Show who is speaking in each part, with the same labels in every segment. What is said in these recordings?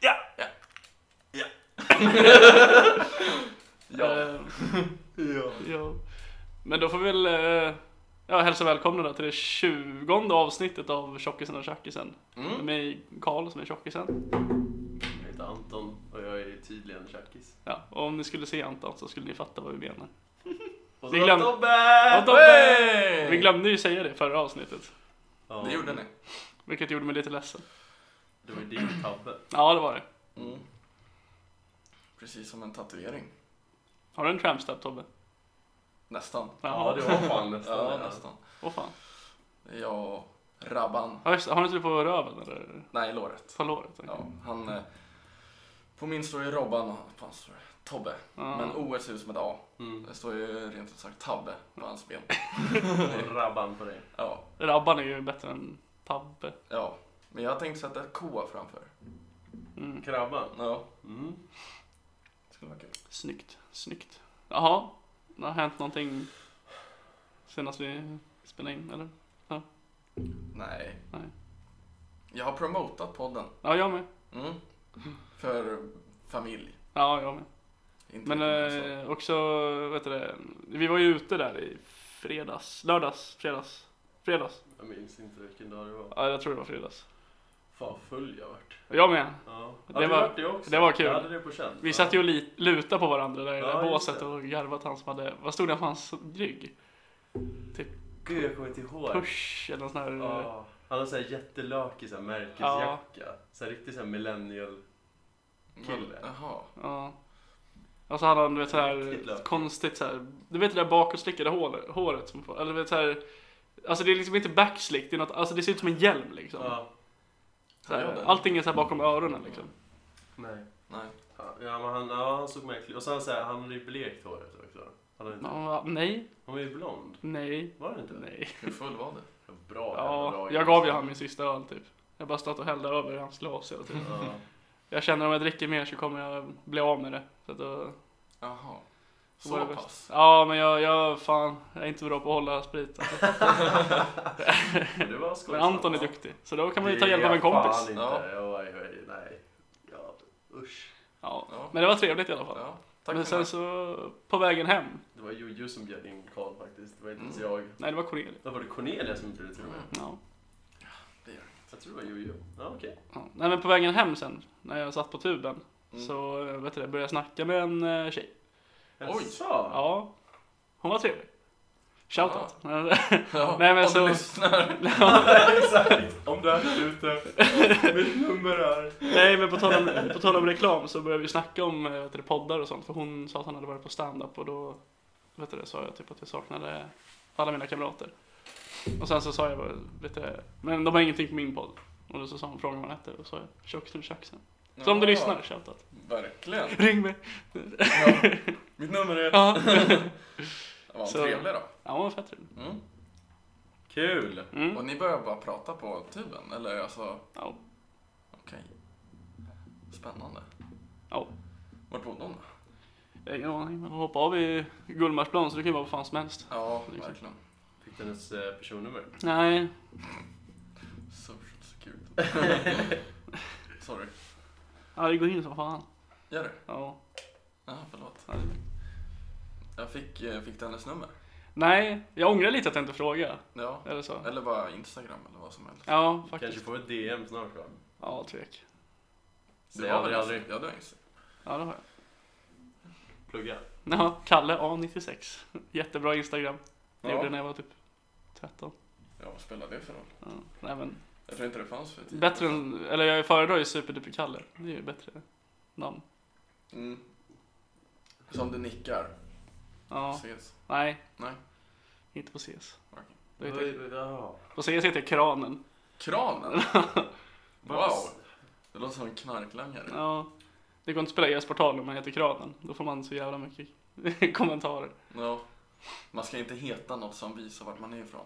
Speaker 1: Ja!
Speaker 2: Ja.
Speaker 1: Ja.
Speaker 2: Ja.
Speaker 3: Eh,
Speaker 1: ja.
Speaker 3: ja. Men då får vi väl eh, ja, hälsa välkomna till det tjugonde avsnittet av Tjockisen och Tjackisen.
Speaker 2: Mm.
Speaker 3: Med mig, Karl som är tjockisen.
Speaker 2: Jag heter Anton och jag är tydligen tjackis.
Speaker 3: Ja, och om ni skulle se Anton så skulle ni fatta vad vi menar.
Speaker 2: Och
Speaker 3: Vi
Speaker 2: så
Speaker 3: glöm-
Speaker 2: Tobbe!
Speaker 3: Och Tobbe!
Speaker 2: Hey!
Speaker 3: Vi glömde ju säga det i förra avsnittet,
Speaker 2: Ja, det gjorde ni.
Speaker 3: vilket gjorde mig lite ledsen.
Speaker 2: Det var ju din tabbe.
Speaker 3: Ja, det var det.
Speaker 2: Mm.
Speaker 1: Precis som en tatuering.
Speaker 3: Har du en trampstep Tobbe?
Speaker 1: Nästan.
Speaker 2: Ja, det var fan nästan
Speaker 1: Ja,
Speaker 2: det.
Speaker 1: nästan.
Speaker 3: Åh fan.
Speaker 1: Ja, Rabban.
Speaker 3: Ja, just, det. har du inte det på röven eller
Speaker 1: Nej, låret.
Speaker 3: på låret? tänker jag.
Speaker 2: Mm.
Speaker 1: Ja, han... eh, På min står ju Robban och på hans står det Tobbe.
Speaker 3: Ja.
Speaker 1: Men O är ett hus med ett A.
Speaker 2: Mm.
Speaker 1: Det står ju rent ut sagt Tabbe på hans ben.
Speaker 2: Och Rabban på dig.
Speaker 1: Ja,
Speaker 3: Rabban är ju bättre än Tabbe.
Speaker 1: ja. Men jag tänkte sätta ett K framför.
Speaker 3: Mm.
Speaker 2: Krabban.
Speaker 1: Ja,
Speaker 2: Mm.
Speaker 1: det skulle vara kul.
Speaker 3: Snyggt, snyggt. Jaha, det har hänt någonting senast vi spelade in, eller?
Speaker 1: Nej.
Speaker 3: Nej.
Speaker 1: Jag har promotat podden.
Speaker 3: Ja, jag med.
Speaker 1: Mm. För familj.
Speaker 3: Ja, jag med.
Speaker 1: Inte
Speaker 3: Men
Speaker 1: riktigt
Speaker 2: Mm,
Speaker 3: eh,
Speaker 2: alltså.
Speaker 3: också, vet du det, vi var ju ute där i fredags, lördags, fredags, fredags.
Speaker 2: Jag minns inte vilken dag det var.
Speaker 3: Ja, jag tror det var fredags.
Speaker 2: Fan full jag vart.
Speaker 3: Jag med.
Speaker 2: Ja.
Speaker 3: Det
Speaker 2: Det hade
Speaker 3: var-
Speaker 2: var, det också.
Speaker 3: det var kul.
Speaker 2: Jag hade det på känn.
Speaker 3: Vi satt ju och li- lutade på varandra där i det där
Speaker 2: Ja, just
Speaker 3: båset
Speaker 2: det.
Speaker 3: och garvade att han som hade, vad stod det på hans rygg?
Speaker 2: Gud jag kommer inte ihåg.
Speaker 3: Push eller någon sån här. eh,
Speaker 2: Ja. Han har såhär jättelökig så här märkesjacka. Så här riktigt såhär millennial. kille.
Speaker 1: alltså. Jaha.
Speaker 3: Ja. Och så hade han du vet så
Speaker 2: Riktigt
Speaker 3: här
Speaker 2: lökigt.
Speaker 3: konstigt så här, du vet det där bakåtslickade hålet, håret som får, eller du vet så här, alltså det är liksom inte backslick, det är något, alltså det ser ut som en hjälm liksom.
Speaker 2: Ja.
Speaker 3: Så här,
Speaker 1: Ja, den-
Speaker 3: allting är så här bakom öronen liksom.
Speaker 2: Nej.
Speaker 1: Nej.
Speaker 2: Ja men han, ja, han såg märklig Och så han såhär, han hade ju blekt håret också. Han, hade inte,
Speaker 3: Man bara, nej,
Speaker 2: han var ju blond.
Speaker 3: nej,
Speaker 2: Var det inte?
Speaker 3: nej.
Speaker 1: Hur full var du?
Speaker 2: Bra jävla
Speaker 3: Ja,
Speaker 2: drag.
Speaker 3: jag gav ju han min sista öl typ. Jag bara stått och hällde över i hans glas hela tiden.
Speaker 2: Ja.
Speaker 3: Jag känner om jag dricker mer så kommer jag bli av med det. Så att då,
Speaker 1: Jaha.
Speaker 3: Var det
Speaker 1: Så
Speaker 3: bäst?
Speaker 1: pass.
Speaker 3: ja men jag, jag, fan, jag är inte bra på att hålla sprit. Alltså.
Speaker 2: Det var skojsamt.
Speaker 3: Men Anton är duktig, så då kan man ju ta
Speaker 2: Det är
Speaker 3: hjälp av en
Speaker 2: fan
Speaker 3: kompis.
Speaker 2: Inte.
Speaker 1: Ja.
Speaker 2: Ja. Oj, oj, nej. Ja, usch.
Speaker 3: Ja.
Speaker 1: Ja.
Speaker 3: Men det var trevligt i alla fall.
Speaker 1: Ja. Tack
Speaker 3: men
Speaker 1: för
Speaker 3: sen
Speaker 1: det.
Speaker 3: så, på vägen hem,
Speaker 2: Det var Jojo som bjöd in Karl faktiskt. Det var inte ens
Speaker 1: Mm.
Speaker 2: jag.
Speaker 3: nej det var Cornelia.
Speaker 2: Då var det Cornelia som gjorde det till och med.
Speaker 3: Ja.
Speaker 2: Jag tror det var Jojo. Ja, okej.
Speaker 3: Ja. Nej men på vägen hem sen, när jag satt på tuben,
Speaker 1: Mm.
Speaker 3: så eh, vet du det, började jag snacka med en eh, tjej.
Speaker 1: Oj.
Speaker 2: Jaså?
Speaker 3: Ja, hon var trevlig. Shoutout.
Speaker 1: Ja,
Speaker 3: Nej, men
Speaker 1: om
Speaker 3: så-
Speaker 1: du lyssnar.
Speaker 2: Exakt. Om du är där ute. Mitt nummer är...
Speaker 3: Nej men på tal, om, på tal om reklam så började vi snacka om eh, vet du, poddar och sånt för hon sa att han hade varit på stand-up och då vet du, det, sa jag typ att jag saknade alla mina kamrater. Och sen så sa jag bara, vet du, det, men de har ingenting på min podd. Och då så sa hon frågan vad den hette och så sa jag Tjockstrul Tjacksen. Så om du
Speaker 1: Ja,
Speaker 3: lyssnar, shoutout.
Speaker 1: Verkligen.
Speaker 3: Ring mig!
Speaker 1: Ja. Mitt nummer är...
Speaker 3: Ja,
Speaker 1: Vad
Speaker 3: Så-
Speaker 1: trevlig då.
Speaker 3: ja hon var fett trevlig.
Speaker 1: Mm.
Speaker 2: Kul!
Speaker 3: Mm.
Speaker 1: Och ni börjar bara prata på tuben? Eller alltså,
Speaker 3: Ja.
Speaker 1: okej. Spännande.
Speaker 3: Ja.
Speaker 1: Vart bodde hon då?
Speaker 3: Jag har ingen aning, men hon hoppade av i Gullmarsplan så det kan ju vara vad fan som helst.
Speaker 1: Ja,
Speaker 3: Exakt.
Speaker 1: verkligen.
Speaker 2: Fick du hennes eh, personnummer?
Speaker 3: Nej,
Speaker 1: Social security. Sorry.
Speaker 3: ja, det går in som fan.
Speaker 1: Gör det?
Speaker 3: Ja,
Speaker 1: Ja, förlåt.
Speaker 3: ja, det är-
Speaker 1: Jag fick, eh, fick du hennes nummer?
Speaker 3: Nej, jag ångrar lite att jag inte frågade.
Speaker 1: Ja.
Speaker 3: Eller så.
Speaker 1: Eller bara Instagram eller vad som helst.
Speaker 3: Ja,
Speaker 2: Kanske
Speaker 3: faktiskt.
Speaker 2: får vi ett DM snart va?
Speaker 3: Ja, tvek.
Speaker 2: Säg aldrig,
Speaker 1: Insta-
Speaker 2: aldrig.
Speaker 1: Ja, du har Instagram.
Speaker 3: Ja, det har jag.
Speaker 2: Plugga.
Speaker 3: Ja, Kalle A96. Jättebra Instagram. Det
Speaker 1: Ja.
Speaker 3: gjorde jag när jag var typ 13.
Speaker 1: Ja, vad spelar det för roll?
Speaker 3: Ja. Nej, men
Speaker 1: Jag tror inte det fanns för tio
Speaker 3: bättre
Speaker 1: år sedan.
Speaker 3: än, eller jag föredrar ju Superduper Kalle. Det är ju bättre namn.
Speaker 1: Mm. Som du nickar.
Speaker 3: Ja,
Speaker 1: Ses.
Speaker 3: nej.
Speaker 1: Nej.
Speaker 3: Inte på CS.
Speaker 1: Okej.
Speaker 3: Då heter jag,
Speaker 2: Ja.
Speaker 3: på CS heter jag Kranen.
Speaker 1: Kranen? wow.
Speaker 2: Wow.
Speaker 1: Det låter som en knarklangare.
Speaker 3: Ja. Det går inte att spela e-sportalen om man heter Kranen. Då får man så jävla mycket kommentarer.
Speaker 1: Ja. Man ska inte heta något som visar vart man är ifrån.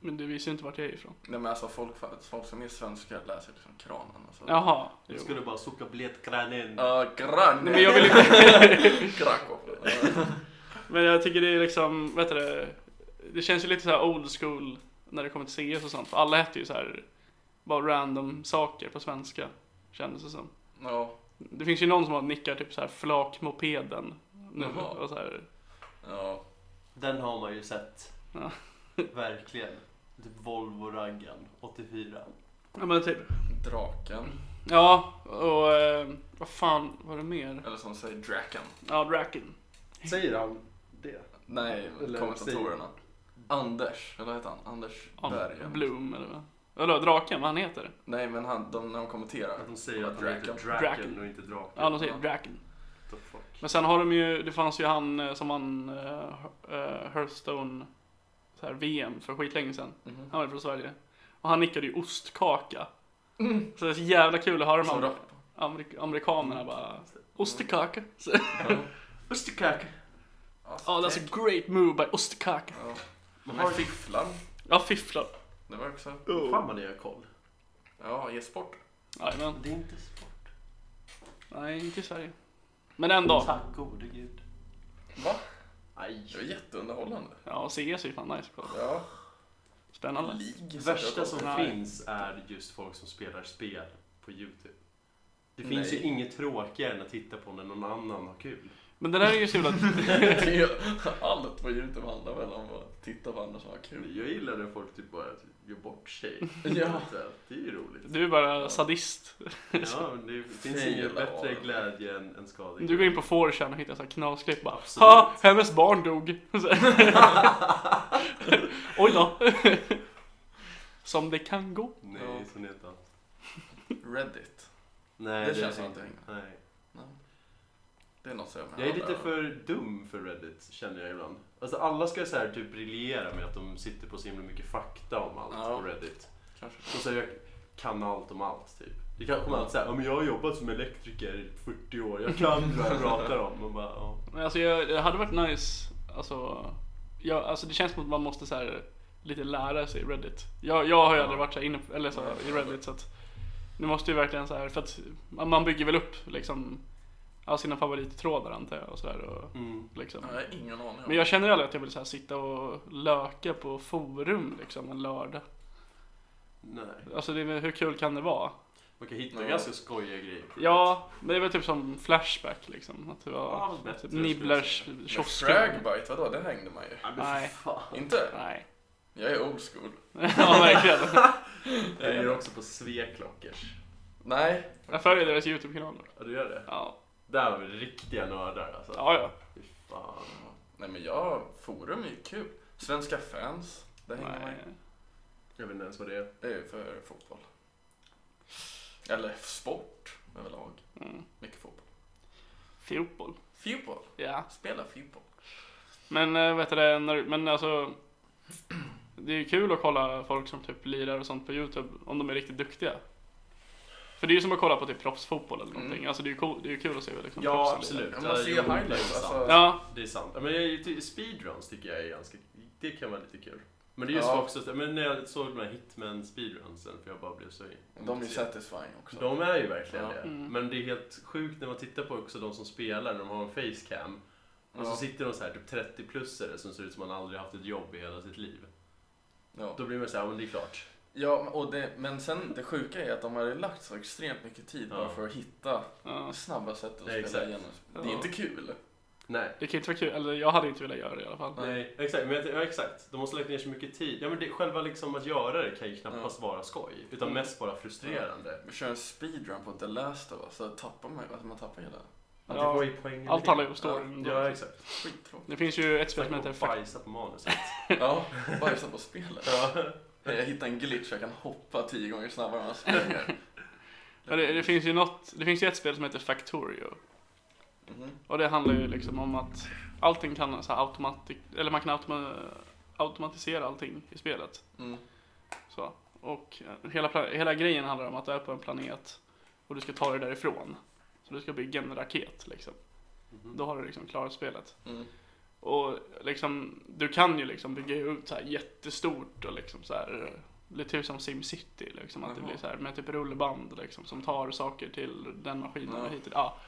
Speaker 3: Men det visar ju inte vart jag är ifrån.
Speaker 1: Nej men alltså folk, folk som är svenskar läser liksom kranen och så.
Speaker 3: Jaha.
Speaker 2: Jag
Speaker 3: Jo.
Speaker 2: skulle bara soka biljettkranen.
Speaker 1: Ja, kranen.
Speaker 3: Nej, men jag vill inte...
Speaker 1: Krakow.
Speaker 3: Men jag tycker det är liksom, vet du det, det känns ju lite så här old school när det kommer till CS och sånt. För alla hette ju så här bara random saker på svenska, kändes det som.
Speaker 1: Ja.
Speaker 3: Det finns ju någon som har nickar typ så här flakmopeden. Nu,
Speaker 1: Jaha.
Speaker 3: och så här,
Speaker 1: Ja.
Speaker 2: Den har man ju sett.
Speaker 3: Ja.
Speaker 2: Verkligen. Typ Volvo-raggen 84.
Speaker 3: ja men typ.
Speaker 1: Draken.
Speaker 3: Ja, och eh, vad fan var det mer?
Speaker 1: Eller som säger Draken.
Speaker 3: Ja, Draken.
Speaker 2: Säger han det?
Speaker 1: Nej,
Speaker 2: Eller
Speaker 1: kommentatorerna. Anders, eller vad heter han? Anders
Speaker 3: Ja,
Speaker 1: Berg. eller-
Speaker 3: Bloom eller vad? Eller draken, vad han heter?
Speaker 1: Nej, men han, de, när de kommenterar.
Speaker 2: Att de säger att han heter
Speaker 1: Draken.
Speaker 2: Draken,
Speaker 3: Draken.
Speaker 2: och inte Draken.
Speaker 3: Ja, de säger
Speaker 1: Ja.
Speaker 3: Draken.
Speaker 2: What the fuck?
Speaker 3: Men sen har de ju, det fanns ju han eh, som vann eh, eh, Hearthstone så här, VM för skitlänge sedan.
Speaker 1: Mhm.
Speaker 3: Han var ju från Sverige. Och han nickade ju ostkaka. Så det är så jävla kul att höra de
Speaker 1: Som
Speaker 3: här
Speaker 1: rap.
Speaker 3: amerik- amerikanerna bara Ostekaka. Så-
Speaker 2: Österkaka.
Speaker 3: Ja, that's a great move by Ostekaka.
Speaker 1: Ja.
Speaker 2: Man
Speaker 1: Den här
Speaker 2: har
Speaker 1: fifflan.
Speaker 3: Ja, fifflar.
Speaker 1: Det var också...
Speaker 2: Fan vad ni har koll.
Speaker 1: Ja, e-sport.
Speaker 3: Jajamän.
Speaker 2: Det är inte sport.
Speaker 3: Nej, inte i Sverige. Men en dag.
Speaker 2: Mm, Tack gode gud.
Speaker 1: Va? Det
Speaker 2: Aj.
Speaker 1: var jätteunderhållande.
Speaker 3: Ja, CS är ju fan nice.
Speaker 1: Ja.
Speaker 3: Spännande.
Speaker 1: League.
Speaker 2: Det värsta som
Speaker 3: Nej.
Speaker 2: finns är just folk som spelar spel på YouTube. Det
Speaker 1: Nej.
Speaker 2: finns ju inget tråkigare än att titta på när någon annan har kul.
Speaker 3: Men det där är ju så jävla...
Speaker 1: Det är ju- Allt på Youtube handlar väl om att titta på andra som har kul.
Speaker 2: Jag gillar när folk typ bara gör bort sig.
Speaker 1: Ja.
Speaker 2: Det är ju roligt.
Speaker 3: Du är bara sadist.
Speaker 2: Ja, men det finns
Speaker 1: Fel
Speaker 2: ingen bättre
Speaker 1: val.
Speaker 2: glädje än, än skada.
Speaker 3: Du går in på 4chan och hittar så här knasklipp bara.
Speaker 2: Absolut.
Speaker 3: Ha! Hennes barn dog. Så här. Oj då. Som det kan gå.
Speaker 2: Nej,
Speaker 1: Ja.
Speaker 2: så ni inte.
Speaker 1: Reddit.
Speaker 2: Nej,
Speaker 1: Det känns
Speaker 2: är
Speaker 1: inte hängande.
Speaker 2: Nej.
Speaker 1: Nej. Det är något som jag
Speaker 2: Jag är
Speaker 1: menar.
Speaker 2: lite för dum för Reddit, känner jag ibland. Alltså alla ska så här typ briljera med att de sitter på så himla mycket fakta om allt
Speaker 1: Ja.
Speaker 2: på Reddit.
Speaker 1: Kanske.
Speaker 2: Och så jag kan allt om allt, typ. Det kan komma att säga, ja men jag har jobbat som elektriker i 40 år, jag kan vad jag pratar om. Man bara, ja.
Speaker 3: Men alltså jag, det hade varit nice, alltså, jag, alltså det känns som att man måste så här, lite lära sig Reddit. Jag, jag har ju
Speaker 2: Ja.
Speaker 3: aldrig varit så här inne, eller så här, i Reddit så att nu måste ju verkligen så här, för att man man bygger väl upp liksom ja, sina favorittrådar antar jag och så där, och
Speaker 2: Mm.
Speaker 3: liksom.
Speaker 1: Ja, Jag har ingen aning om.
Speaker 3: Men jag känner aldrig att jag vill så här, sitta och löka på forum liksom en lördag.
Speaker 2: Nej.
Speaker 3: Alltså det, är väl- hur kul kan det vara?
Speaker 2: Man kan hitta
Speaker 1: Ja.
Speaker 2: ganska skojiga grejer. på Reddit.
Speaker 3: Ja, men det är väl typ som Flashback liksom. Att det
Speaker 2: Ja,
Speaker 3: var
Speaker 2: men bättre,
Speaker 3: typ
Speaker 2: skulle jag
Speaker 3: Nibblers
Speaker 2: säga.
Speaker 1: Men
Speaker 3: kiosk.
Speaker 1: Fragbite, vadå? Den hängde man ju.
Speaker 2: Ja, men för
Speaker 3: Nej.
Speaker 2: fan.
Speaker 1: Inte?
Speaker 3: Nej.
Speaker 1: Jag är old school.
Speaker 3: ja, verkligen.
Speaker 2: Jag hänger också på sveklockers.
Speaker 1: Nej.
Speaker 3: Jag följer deras YouTube-kanal.
Speaker 2: Ja, du gör det?
Speaker 3: Ja,
Speaker 2: Där har vi riktiga nördar alltså.
Speaker 3: ja. ja.
Speaker 2: Fy fan.
Speaker 1: Nej men jag, forum är ju kul. Svenska fans, det hänger man ju.
Speaker 3: Nej.
Speaker 2: Jag vet inte ens vad det är.
Speaker 1: Det är ju för fotboll. Eller sport överlag.
Speaker 3: Mm.
Speaker 1: Mycket fotboll.
Speaker 3: Fotboll.
Speaker 1: Fotboll?
Speaker 3: Ja.
Speaker 1: Spela fotboll.
Speaker 3: Men eh, vet du det, när, men alltså. Det är ju kul att kolla folk som typ lirar och sånt på YouTube om de är riktigt duktiga. För det är ju som att kolla på typ proffsfotboll eller någonting.
Speaker 1: Mm.
Speaker 3: Alltså det är ju cool, det är ju kul att se hur liksom
Speaker 2: Ja,
Speaker 3: proffsen lirar.
Speaker 2: absolut.
Speaker 1: Ja, man ser
Speaker 2: jo,
Speaker 1: highlights,
Speaker 2: det är sant.
Speaker 1: alltså.
Speaker 3: Ja,
Speaker 2: Det är sant. Ja, Men jag, är ju ty- speedruns tycker jag är ganska... Det kan vara lite kul. Men det är just
Speaker 1: Ja.
Speaker 2: också... Men när jag såg de här Hitman speedrunsen, för jag bara blev så...
Speaker 1: De är ju satisfying också.
Speaker 2: De är ju verkligen
Speaker 1: Ja.
Speaker 2: det.
Speaker 3: Mm.
Speaker 2: Men det är helt sjukt när man tittar på också de som spelar, när de har en facecam. Och så
Speaker 1: Ja.
Speaker 2: sitter de så här typ 30-plussare som ser ut som man aldrig haft ett jobb i hela sitt liv.
Speaker 1: Ja.
Speaker 2: Då blir man så här, ja men det är klart.
Speaker 1: Ja, och det, men sen det sjuka är att de har ju lagt så extremt mycket tid
Speaker 2: Ja.
Speaker 1: bara för att hitta
Speaker 3: ja.
Speaker 1: snabba sätt att spela
Speaker 2: Nej, exakt.
Speaker 1: igenom. Det är
Speaker 3: Ja.
Speaker 1: inte kul.
Speaker 2: Nej.
Speaker 3: Det kan ju inte vara kul, eller jag hade inte velat göra det i alla fall.
Speaker 2: Nej, exakt. Men, jag- ja, exakt. De måste lagt ner så mycket tid. Ja, men det, själva liksom att göra det kan ju knappast vara skoj, utan
Speaker 3: Mm.
Speaker 2: mest bara frustrerande.
Speaker 1: Vi kör en speedrun på The Last of Us, så tappar man, alltså man tappar hela.
Speaker 2: Ja.
Speaker 3: Ja.
Speaker 2: Det var ju poängen
Speaker 3: Allt
Speaker 2: med
Speaker 3: handlar ju om storyn.
Speaker 2: det. Ja, exakt.
Speaker 1: Skittråkigt.
Speaker 3: Det finns ju ett spel som
Speaker 2: Snacka
Speaker 3: heter
Speaker 2: om
Speaker 3: Fuck-
Speaker 2: bajsa på manuset.
Speaker 1: Ja, bajsa på spelet.
Speaker 2: ja.
Speaker 1: Jag hittar en glitch, jag kan hoppa tio gånger snabbare än jag springer.
Speaker 3: Ja, det, det finns ju något, det finns ju ett spel som heter Factorio.
Speaker 1: Mhm.
Speaker 3: Och det handlar ju liksom om att allting kan så här automatik, eller man kan automa, automatisera allting i spelet.
Speaker 1: Mm.
Speaker 3: Så. Och eh, hela, pla- hela grejen handlar om att du är på en planet och du ska ta dig därifrån. Så du ska bygga en raket liksom.
Speaker 2: Mhm.
Speaker 3: Då har du liksom klarat spelet.
Speaker 1: Mm.
Speaker 3: Och liksom, du kan ju liksom bygga ut så här jättestort och liksom så här eh, lite typ som SimCity liksom att det
Speaker 1: Jaha.
Speaker 3: blir så här med typ rullband liksom som tar saker till den maskinen
Speaker 1: Ja.
Speaker 3: och hit till, ja.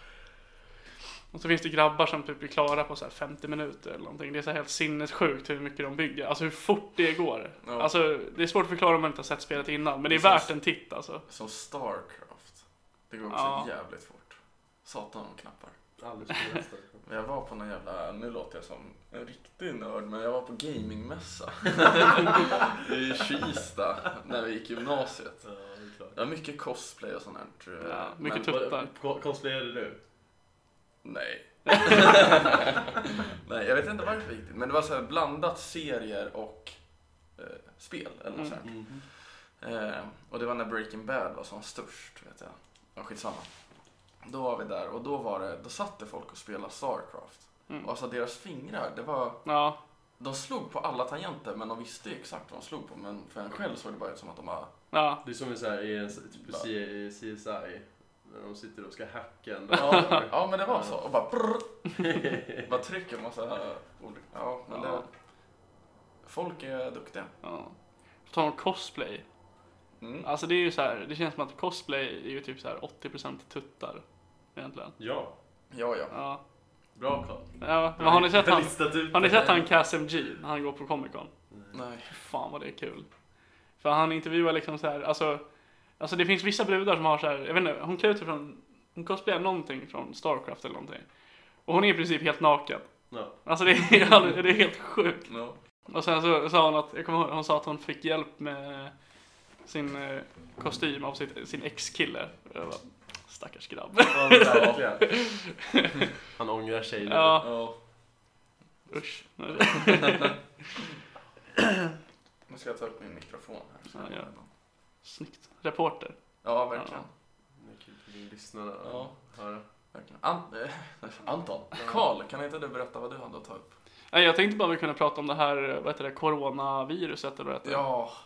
Speaker 3: Och så finns det grabbar som typ blir klara på så här 50 minuter eller någonting. Det är så här helt sinnessjukt hur mycket de bygger, alltså hur fort det går.
Speaker 1: Ja.
Speaker 3: Alltså det är svårt att förklara om man inte har sett spelet innan men det är
Speaker 1: Precis.
Speaker 3: värt en titt alltså.
Speaker 1: Som Starcraft. Det går också
Speaker 3: Ja.
Speaker 1: jävligt fort. Satan om knappar.
Speaker 2: Aldrig skulle rösta.
Speaker 1: Men Jag var på någon jävla, nu låter jag som en riktig nörd, men jag var på gamingmässa. I Kista, när vi gick gymnasiet.
Speaker 2: Ja, det är klart.
Speaker 1: Det var mycket cosplay och sånt här. tror jag.
Speaker 3: Ja, mycket
Speaker 1: men,
Speaker 3: tuff- Tuttar.
Speaker 2: Ko- Cosplayade du?
Speaker 1: Nej. nej, jag vet inte varför riktigt. Men det var så här blandat serier och eh, spel eller något
Speaker 3: Mm.
Speaker 1: sånt. här. Eh, och det var när Breaking Bad var som störst, vet jag. Ja, skitsamma. Då var vi där och då var det, då satt det folk och spelade Starcraft.
Speaker 3: Mm.
Speaker 1: Och alltså deras fingrar, det var
Speaker 3: Ja,
Speaker 1: De slog på alla tangenter men de visste ju exakt vad de slog på men för en själv såg det bara ut som att de bara
Speaker 3: ja.
Speaker 2: Det är som i så här, i en, typ i
Speaker 1: Ja.
Speaker 2: C- i CSI. När de sitter och ska hacka en
Speaker 1: Ja, ja men det var så och bara prrr, bara trycker massa ord. Ja men det
Speaker 3: Ja.
Speaker 1: Folk är duktiga.
Speaker 3: ja. På tal om cosplay.
Speaker 1: Mm.
Speaker 3: Alltså det är ju så här, det känns som att cosplay är ju typ så här 80% tuttar. Egentligen.
Speaker 2: Ja,
Speaker 1: Ja ja.
Speaker 3: Ja.
Speaker 2: bra Karl.
Speaker 3: ja. Men har ni sett
Speaker 2: Jag har
Speaker 3: han?
Speaker 2: listat ut
Speaker 3: Har ni
Speaker 2: det.
Speaker 3: sett han Kasim G när han går på Comic Con?
Speaker 1: Nej.
Speaker 3: Fan vad det är kul. För han intervjuar liksom så här, alltså, alltså det finns vissa brudar som har så här, jag vet inte, hon klär ut sig från, hon cosplayar någonting från Starcraft eller någonting. Och hon är i princip helt naken.
Speaker 2: Ja.
Speaker 3: Alltså det är, all- det är helt sjukt.
Speaker 1: No.
Speaker 3: Och sen så sa hon att, jag kommer ihåg, hon sa att hon fick hjälp med sin eh, kostym av sitt, sin ex-kille. Jag bara, Stackars grabb.
Speaker 2: Ja, men verkligen. Han ångrar sig nu.
Speaker 3: Ja.
Speaker 1: Ja.
Speaker 3: Usch.
Speaker 1: Nu ska jag ta upp min mikrofon här.
Speaker 3: Ja, gör Snyggt. Reporter.
Speaker 1: Ja verkligen.
Speaker 2: Det är kul för din lyssnare att
Speaker 1: Ja.
Speaker 2: höra.
Speaker 1: verkligen. An- eh, Anton, Karl kan inte du berätta vad du hade att ta upp?
Speaker 3: Nej, jag tänkte bara vi kunde prata om det här, eh, vad heter det, coronaviruset eller vad heter det?
Speaker 1: Ja. alltså.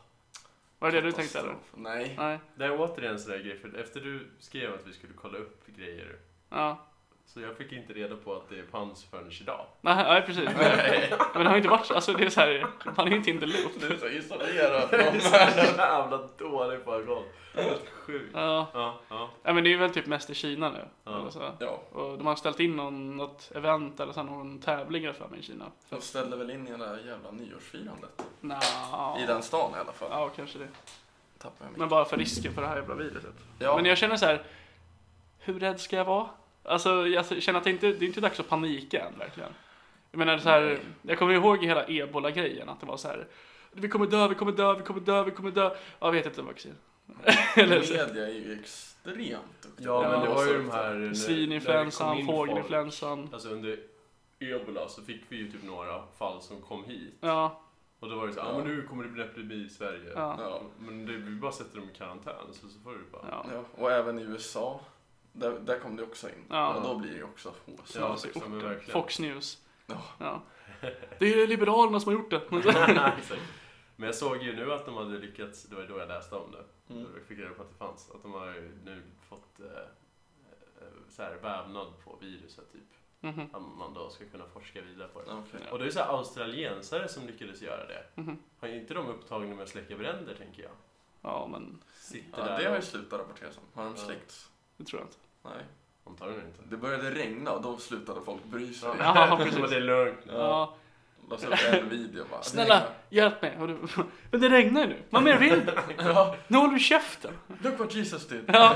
Speaker 3: Var det det du tänkte eller?
Speaker 1: katastrof. Nej.
Speaker 3: Nej.
Speaker 2: Det är återigen en sån där grej, för efter du skrev att vi skulle kolla upp grejer
Speaker 3: Ja.
Speaker 2: så jag fick inte reda på att det är pans förrän idag.
Speaker 3: Nej, nej precis.
Speaker 1: Nej.
Speaker 3: Men det har ju inte varit så. Alltså det är så här, man är ju inte in the loop.
Speaker 1: Du är så isolerad.
Speaker 2: Jag är så jävla dålig på ackord. Helt sjukt.
Speaker 3: Ja,
Speaker 2: Ja, ja,
Speaker 3: nej, men det är ju väl typ mest i Kina nu.
Speaker 2: Ja.
Speaker 3: Eller så.
Speaker 1: Ja,
Speaker 3: Och de har ställt in någon, något event eller så här, någon tävling eller för mig i Kina.
Speaker 1: de ställde väl in hela jävla nyårsfirandet.
Speaker 3: Nå.
Speaker 1: I den stan i alla fall.
Speaker 3: Ja, kanske det.
Speaker 1: Tappar jag mig.
Speaker 3: Men bara för risken för det här jävla viruset.
Speaker 1: Ja.
Speaker 3: Men jag känner så här, hur rädd ska jag vara? Alltså jag känner att det inte det är inte dags att panika än verkligen. Jag menar så här,
Speaker 1: Nej.
Speaker 3: jag kommer ihåg hela ebola-grejen att det var så här, vi kommer dö, vi kommer dö, vi kommer dö, vi kommer dö. Ja, vet inte vaccin. Eller så.
Speaker 1: Media är ju extremt duktiga.
Speaker 2: ja men det var ju de här... när- när det
Speaker 3: Svininfluensan,
Speaker 2: kom in folk.
Speaker 3: fågelinfluensan.
Speaker 2: Alltså under ebola så fick vi ju typ några fall som kom hit.
Speaker 3: Ja,
Speaker 2: Och då var det så här,
Speaker 1: Ja.
Speaker 2: ah, men nu kommer det bli epidemi i Sverige.
Speaker 3: ja.
Speaker 1: Ja.
Speaker 2: Men det, vi bara sätter dem i karantän så, så får du bara...
Speaker 3: ja.
Speaker 1: ja. Och även i USA. Där, där kom det också in.
Speaker 3: Ja.
Speaker 1: Och då blir det ju också hås.
Speaker 2: Ja,
Speaker 3: så
Speaker 2: liksom, men
Speaker 3: orten.
Speaker 2: verkligen.
Speaker 3: Fox News.
Speaker 1: Ja.
Speaker 3: Ja. Det är Liberalerna som har gjort det.
Speaker 2: Exakt. Men jag såg ju nu att de hade lyckats, det var ju då jag läste om det.
Speaker 1: Mm.
Speaker 2: Jag fick reda på att det fanns. Att de har ju nu fått eh, eh, så här, vävnad på viruset typ.
Speaker 3: Mhm.
Speaker 1: Mm.
Speaker 2: Att man då ska kunna forska vidare på det.
Speaker 1: Okej.
Speaker 2: Och det är ju så här australiensare som lyckades göra det.
Speaker 3: Mhm.
Speaker 2: Har inte de upptagna med att släcka bränder tänker jag?
Speaker 3: Ja, men
Speaker 2: Sitter
Speaker 1: Ja,
Speaker 2: där
Speaker 1: det har ju
Speaker 2: och...
Speaker 1: slutat rapporteras om. Har de
Speaker 2: Ja.
Speaker 1: släckts?
Speaker 3: det tror jag inte.
Speaker 1: Nej.
Speaker 2: Antagligen inte.
Speaker 1: Det började regna och då slutade folk bry sig.
Speaker 3: Ja. Jaha, precis.
Speaker 2: Men det är lugnt.
Speaker 1: Ja.
Speaker 3: Ja.
Speaker 1: La upp en video bara.
Speaker 3: Snälla, hjälp mig. Och du- Men det regnar ju nu. Vad mer vill du?
Speaker 1: Ja.
Speaker 3: Nu håller du käften.
Speaker 1: Look what Jesus did.
Speaker 3: Ja.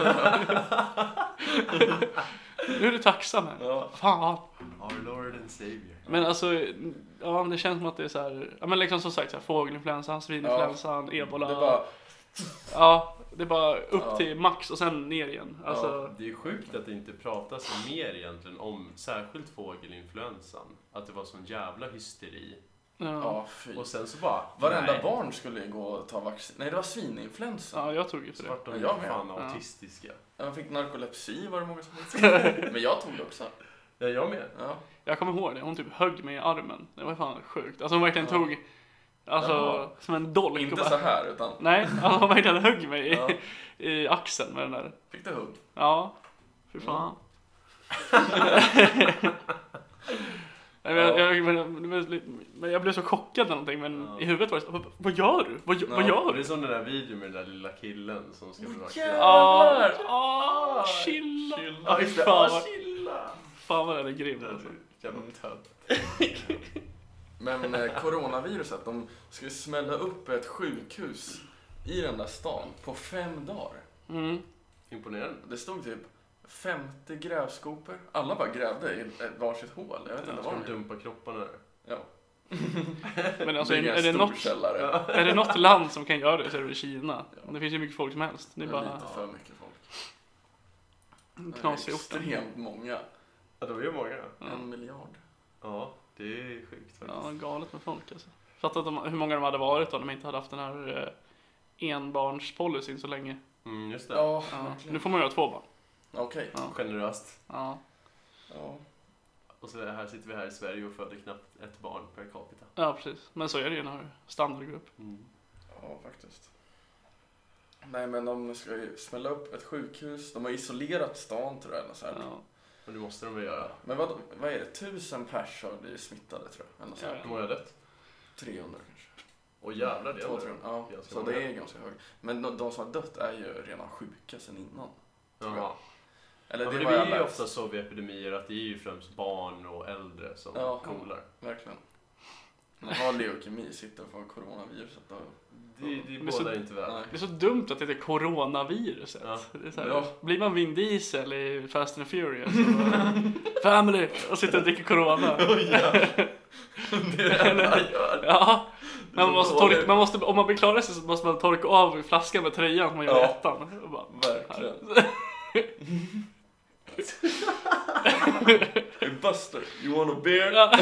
Speaker 3: Nu är du tacksam här.
Speaker 1: Ja.
Speaker 3: Fan.
Speaker 2: Our Lord and Savior.
Speaker 3: Men alltså, ja, men det känns som att det är så här, ja men liksom som sagt så här, fågelinfluensan, svininfluensan, ebola.
Speaker 1: Det var,
Speaker 3: Ja, det är bara upp
Speaker 1: Ja.
Speaker 3: till max och sen ner igen. Alltså,
Speaker 2: Det är sjukt att det inte pratas mer egentligen om särskilt fågelinfluensan. Att det var sån jävla hysteri.
Speaker 3: ja. Ja.
Speaker 1: ja fy.
Speaker 2: Och sen så bara...
Speaker 1: Varenda
Speaker 2: nej.
Speaker 1: barn skulle gå och ta vaccin. Nej, det var svininfluensa.
Speaker 3: jag tog ju för det.
Speaker 2: Svarta
Speaker 1: Ja,
Speaker 2: är
Speaker 1: jag med.
Speaker 2: fan
Speaker 3: Ja.
Speaker 2: autistiska.
Speaker 1: Jag fick narkolepsi var det många som fick. Men jag tog det också.
Speaker 2: Ja, jag med.
Speaker 1: Ja.
Speaker 3: Jag kommer ihåg det, hon typ högg mig i armen. Det var fan sjukt. Alltså hon verkligen
Speaker 1: Ja.
Speaker 3: tog, alltså
Speaker 1: Jaha.
Speaker 3: som en dolk. och
Speaker 1: Inte
Speaker 3: bara-
Speaker 1: så här utan
Speaker 3: Nej, alltså hon verkligen högg mig i,
Speaker 1: Ja.
Speaker 3: i axeln med den där.
Speaker 1: fick det hugg.
Speaker 3: Ja, fy fan. Nej, men,
Speaker 1: Ja.
Speaker 3: jag, men, men- men jag blev så chockad eller någonting men
Speaker 2: Ja.
Speaker 3: i huvudet var det så, vad, vad gör du? Vad, vad
Speaker 1: Ja,
Speaker 3: gör
Speaker 2: Det
Speaker 3: du?
Speaker 2: är som den där videon med den där lilla killen som ska bli vaccin.
Speaker 1: jävlar.
Speaker 3: Ja,
Speaker 1: jävlar!
Speaker 3: ah, chilla!
Speaker 2: Ja, just det. Ah,
Speaker 3: Fan, vad-
Speaker 2: chilla!
Speaker 3: Fan vad den är grym
Speaker 2: Den är
Speaker 3: alltså.
Speaker 2: så Jävla tönt.
Speaker 1: Men eh, coronaviruset, de ska ju smälla upp ett sjukhus i den där stan på fem dagar.
Speaker 3: Mm.
Speaker 2: Imponerande.
Speaker 1: Det stod typ 50 grävskopor. Alla bara grävde i ett varsitt hål. Jag vet
Speaker 2: Jag
Speaker 1: inte
Speaker 2: ska
Speaker 1: var
Speaker 2: de
Speaker 1: det är.
Speaker 2: dumpa kropparna där?
Speaker 1: Ja.
Speaker 3: Men alltså, är,
Speaker 1: Bygga en
Speaker 3: är, det
Speaker 1: stor
Speaker 3: något,
Speaker 1: källare.
Speaker 2: Ja.
Speaker 3: är det något land som kan göra det så är det väl Kina.
Speaker 1: Ja.
Speaker 3: Det finns ju mycket folk som helst. Det är bara
Speaker 1: Lite för mycket folk.
Speaker 3: knasig orten.
Speaker 1: Extremt många.
Speaker 2: Ja, de är ju många.
Speaker 3: Ja.
Speaker 1: En miljard.
Speaker 2: Ja, det är sjukt
Speaker 3: Ja, det
Speaker 2: faktiskt.
Speaker 3: är galet med folk alltså. Fattar att de, hur många de hade varit om de inte hade haft den här eh, enbarnspolicyn så länge.
Speaker 2: Mm, just det.
Speaker 1: Ja,
Speaker 3: Ja.
Speaker 1: verkligen.
Speaker 3: Nu får man ju ha två barn.
Speaker 1: Okej.
Speaker 3: Ja.
Speaker 2: Generöst.
Speaker 3: Ja.
Speaker 1: Ja.
Speaker 2: Och så här sitter vi här i Sverige och föder knappt ett barn per capita.
Speaker 3: ja, precis. Men så är det ju när standardgrupp.
Speaker 2: Mm.
Speaker 1: ja, faktiskt. Nej, men de ska ju smälla upp ett sjukhus. De har isolerat stan tror jag. Eller så här.
Speaker 3: Ja.
Speaker 2: Men det måste de väl göra?
Speaker 1: Men vad, vad är det? Tusen pers har blivit smittade tror jag. Eller så här.
Speaker 3: Ja.
Speaker 2: Hur många har dött?
Speaker 1: 300 kanske.
Speaker 2: Åh jävlar, det
Speaker 1: Två,
Speaker 2: är ändå-
Speaker 1: 300. Ja,
Speaker 2: Ganska
Speaker 1: så
Speaker 2: många.
Speaker 1: det är ganska högt. Men de, de som har dött är ju redan sjuka sedan innan.
Speaker 2: Ja.
Speaker 1: Eller
Speaker 2: Ja,
Speaker 1: det,
Speaker 2: men det
Speaker 1: var jag
Speaker 2: blir ju
Speaker 1: läst.
Speaker 2: ofta så vid epidemier att det är ju främst barn och äldre som
Speaker 1: Ja.
Speaker 2: kolar.
Speaker 1: Verkligen. Man har leukemi, sitter på coronaviruset och...
Speaker 2: Det, det
Speaker 3: Men så-
Speaker 2: bådar inte väl.
Speaker 1: Nej.
Speaker 3: Det är så dumt att det heter coronaviruset.
Speaker 2: Ja.
Speaker 3: Det är så här,
Speaker 1: Ja.
Speaker 3: Blir man Vin Diesel i Fast and Furious och bara, Family och sitter och dricker corona.
Speaker 2: Det är det han gör.
Speaker 3: Ja, men
Speaker 2: så
Speaker 3: man måste
Speaker 2: dåligt.
Speaker 3: torka, man måste, om man blir klar så måste man torka av flaskan med tröjan som man gör i
Speaker 1: Ja.
Speaker 3: ettan. Och bara,
Speaker 1: Verkligen. Hey Buster, you want a beer?
Speaker 3: Ja.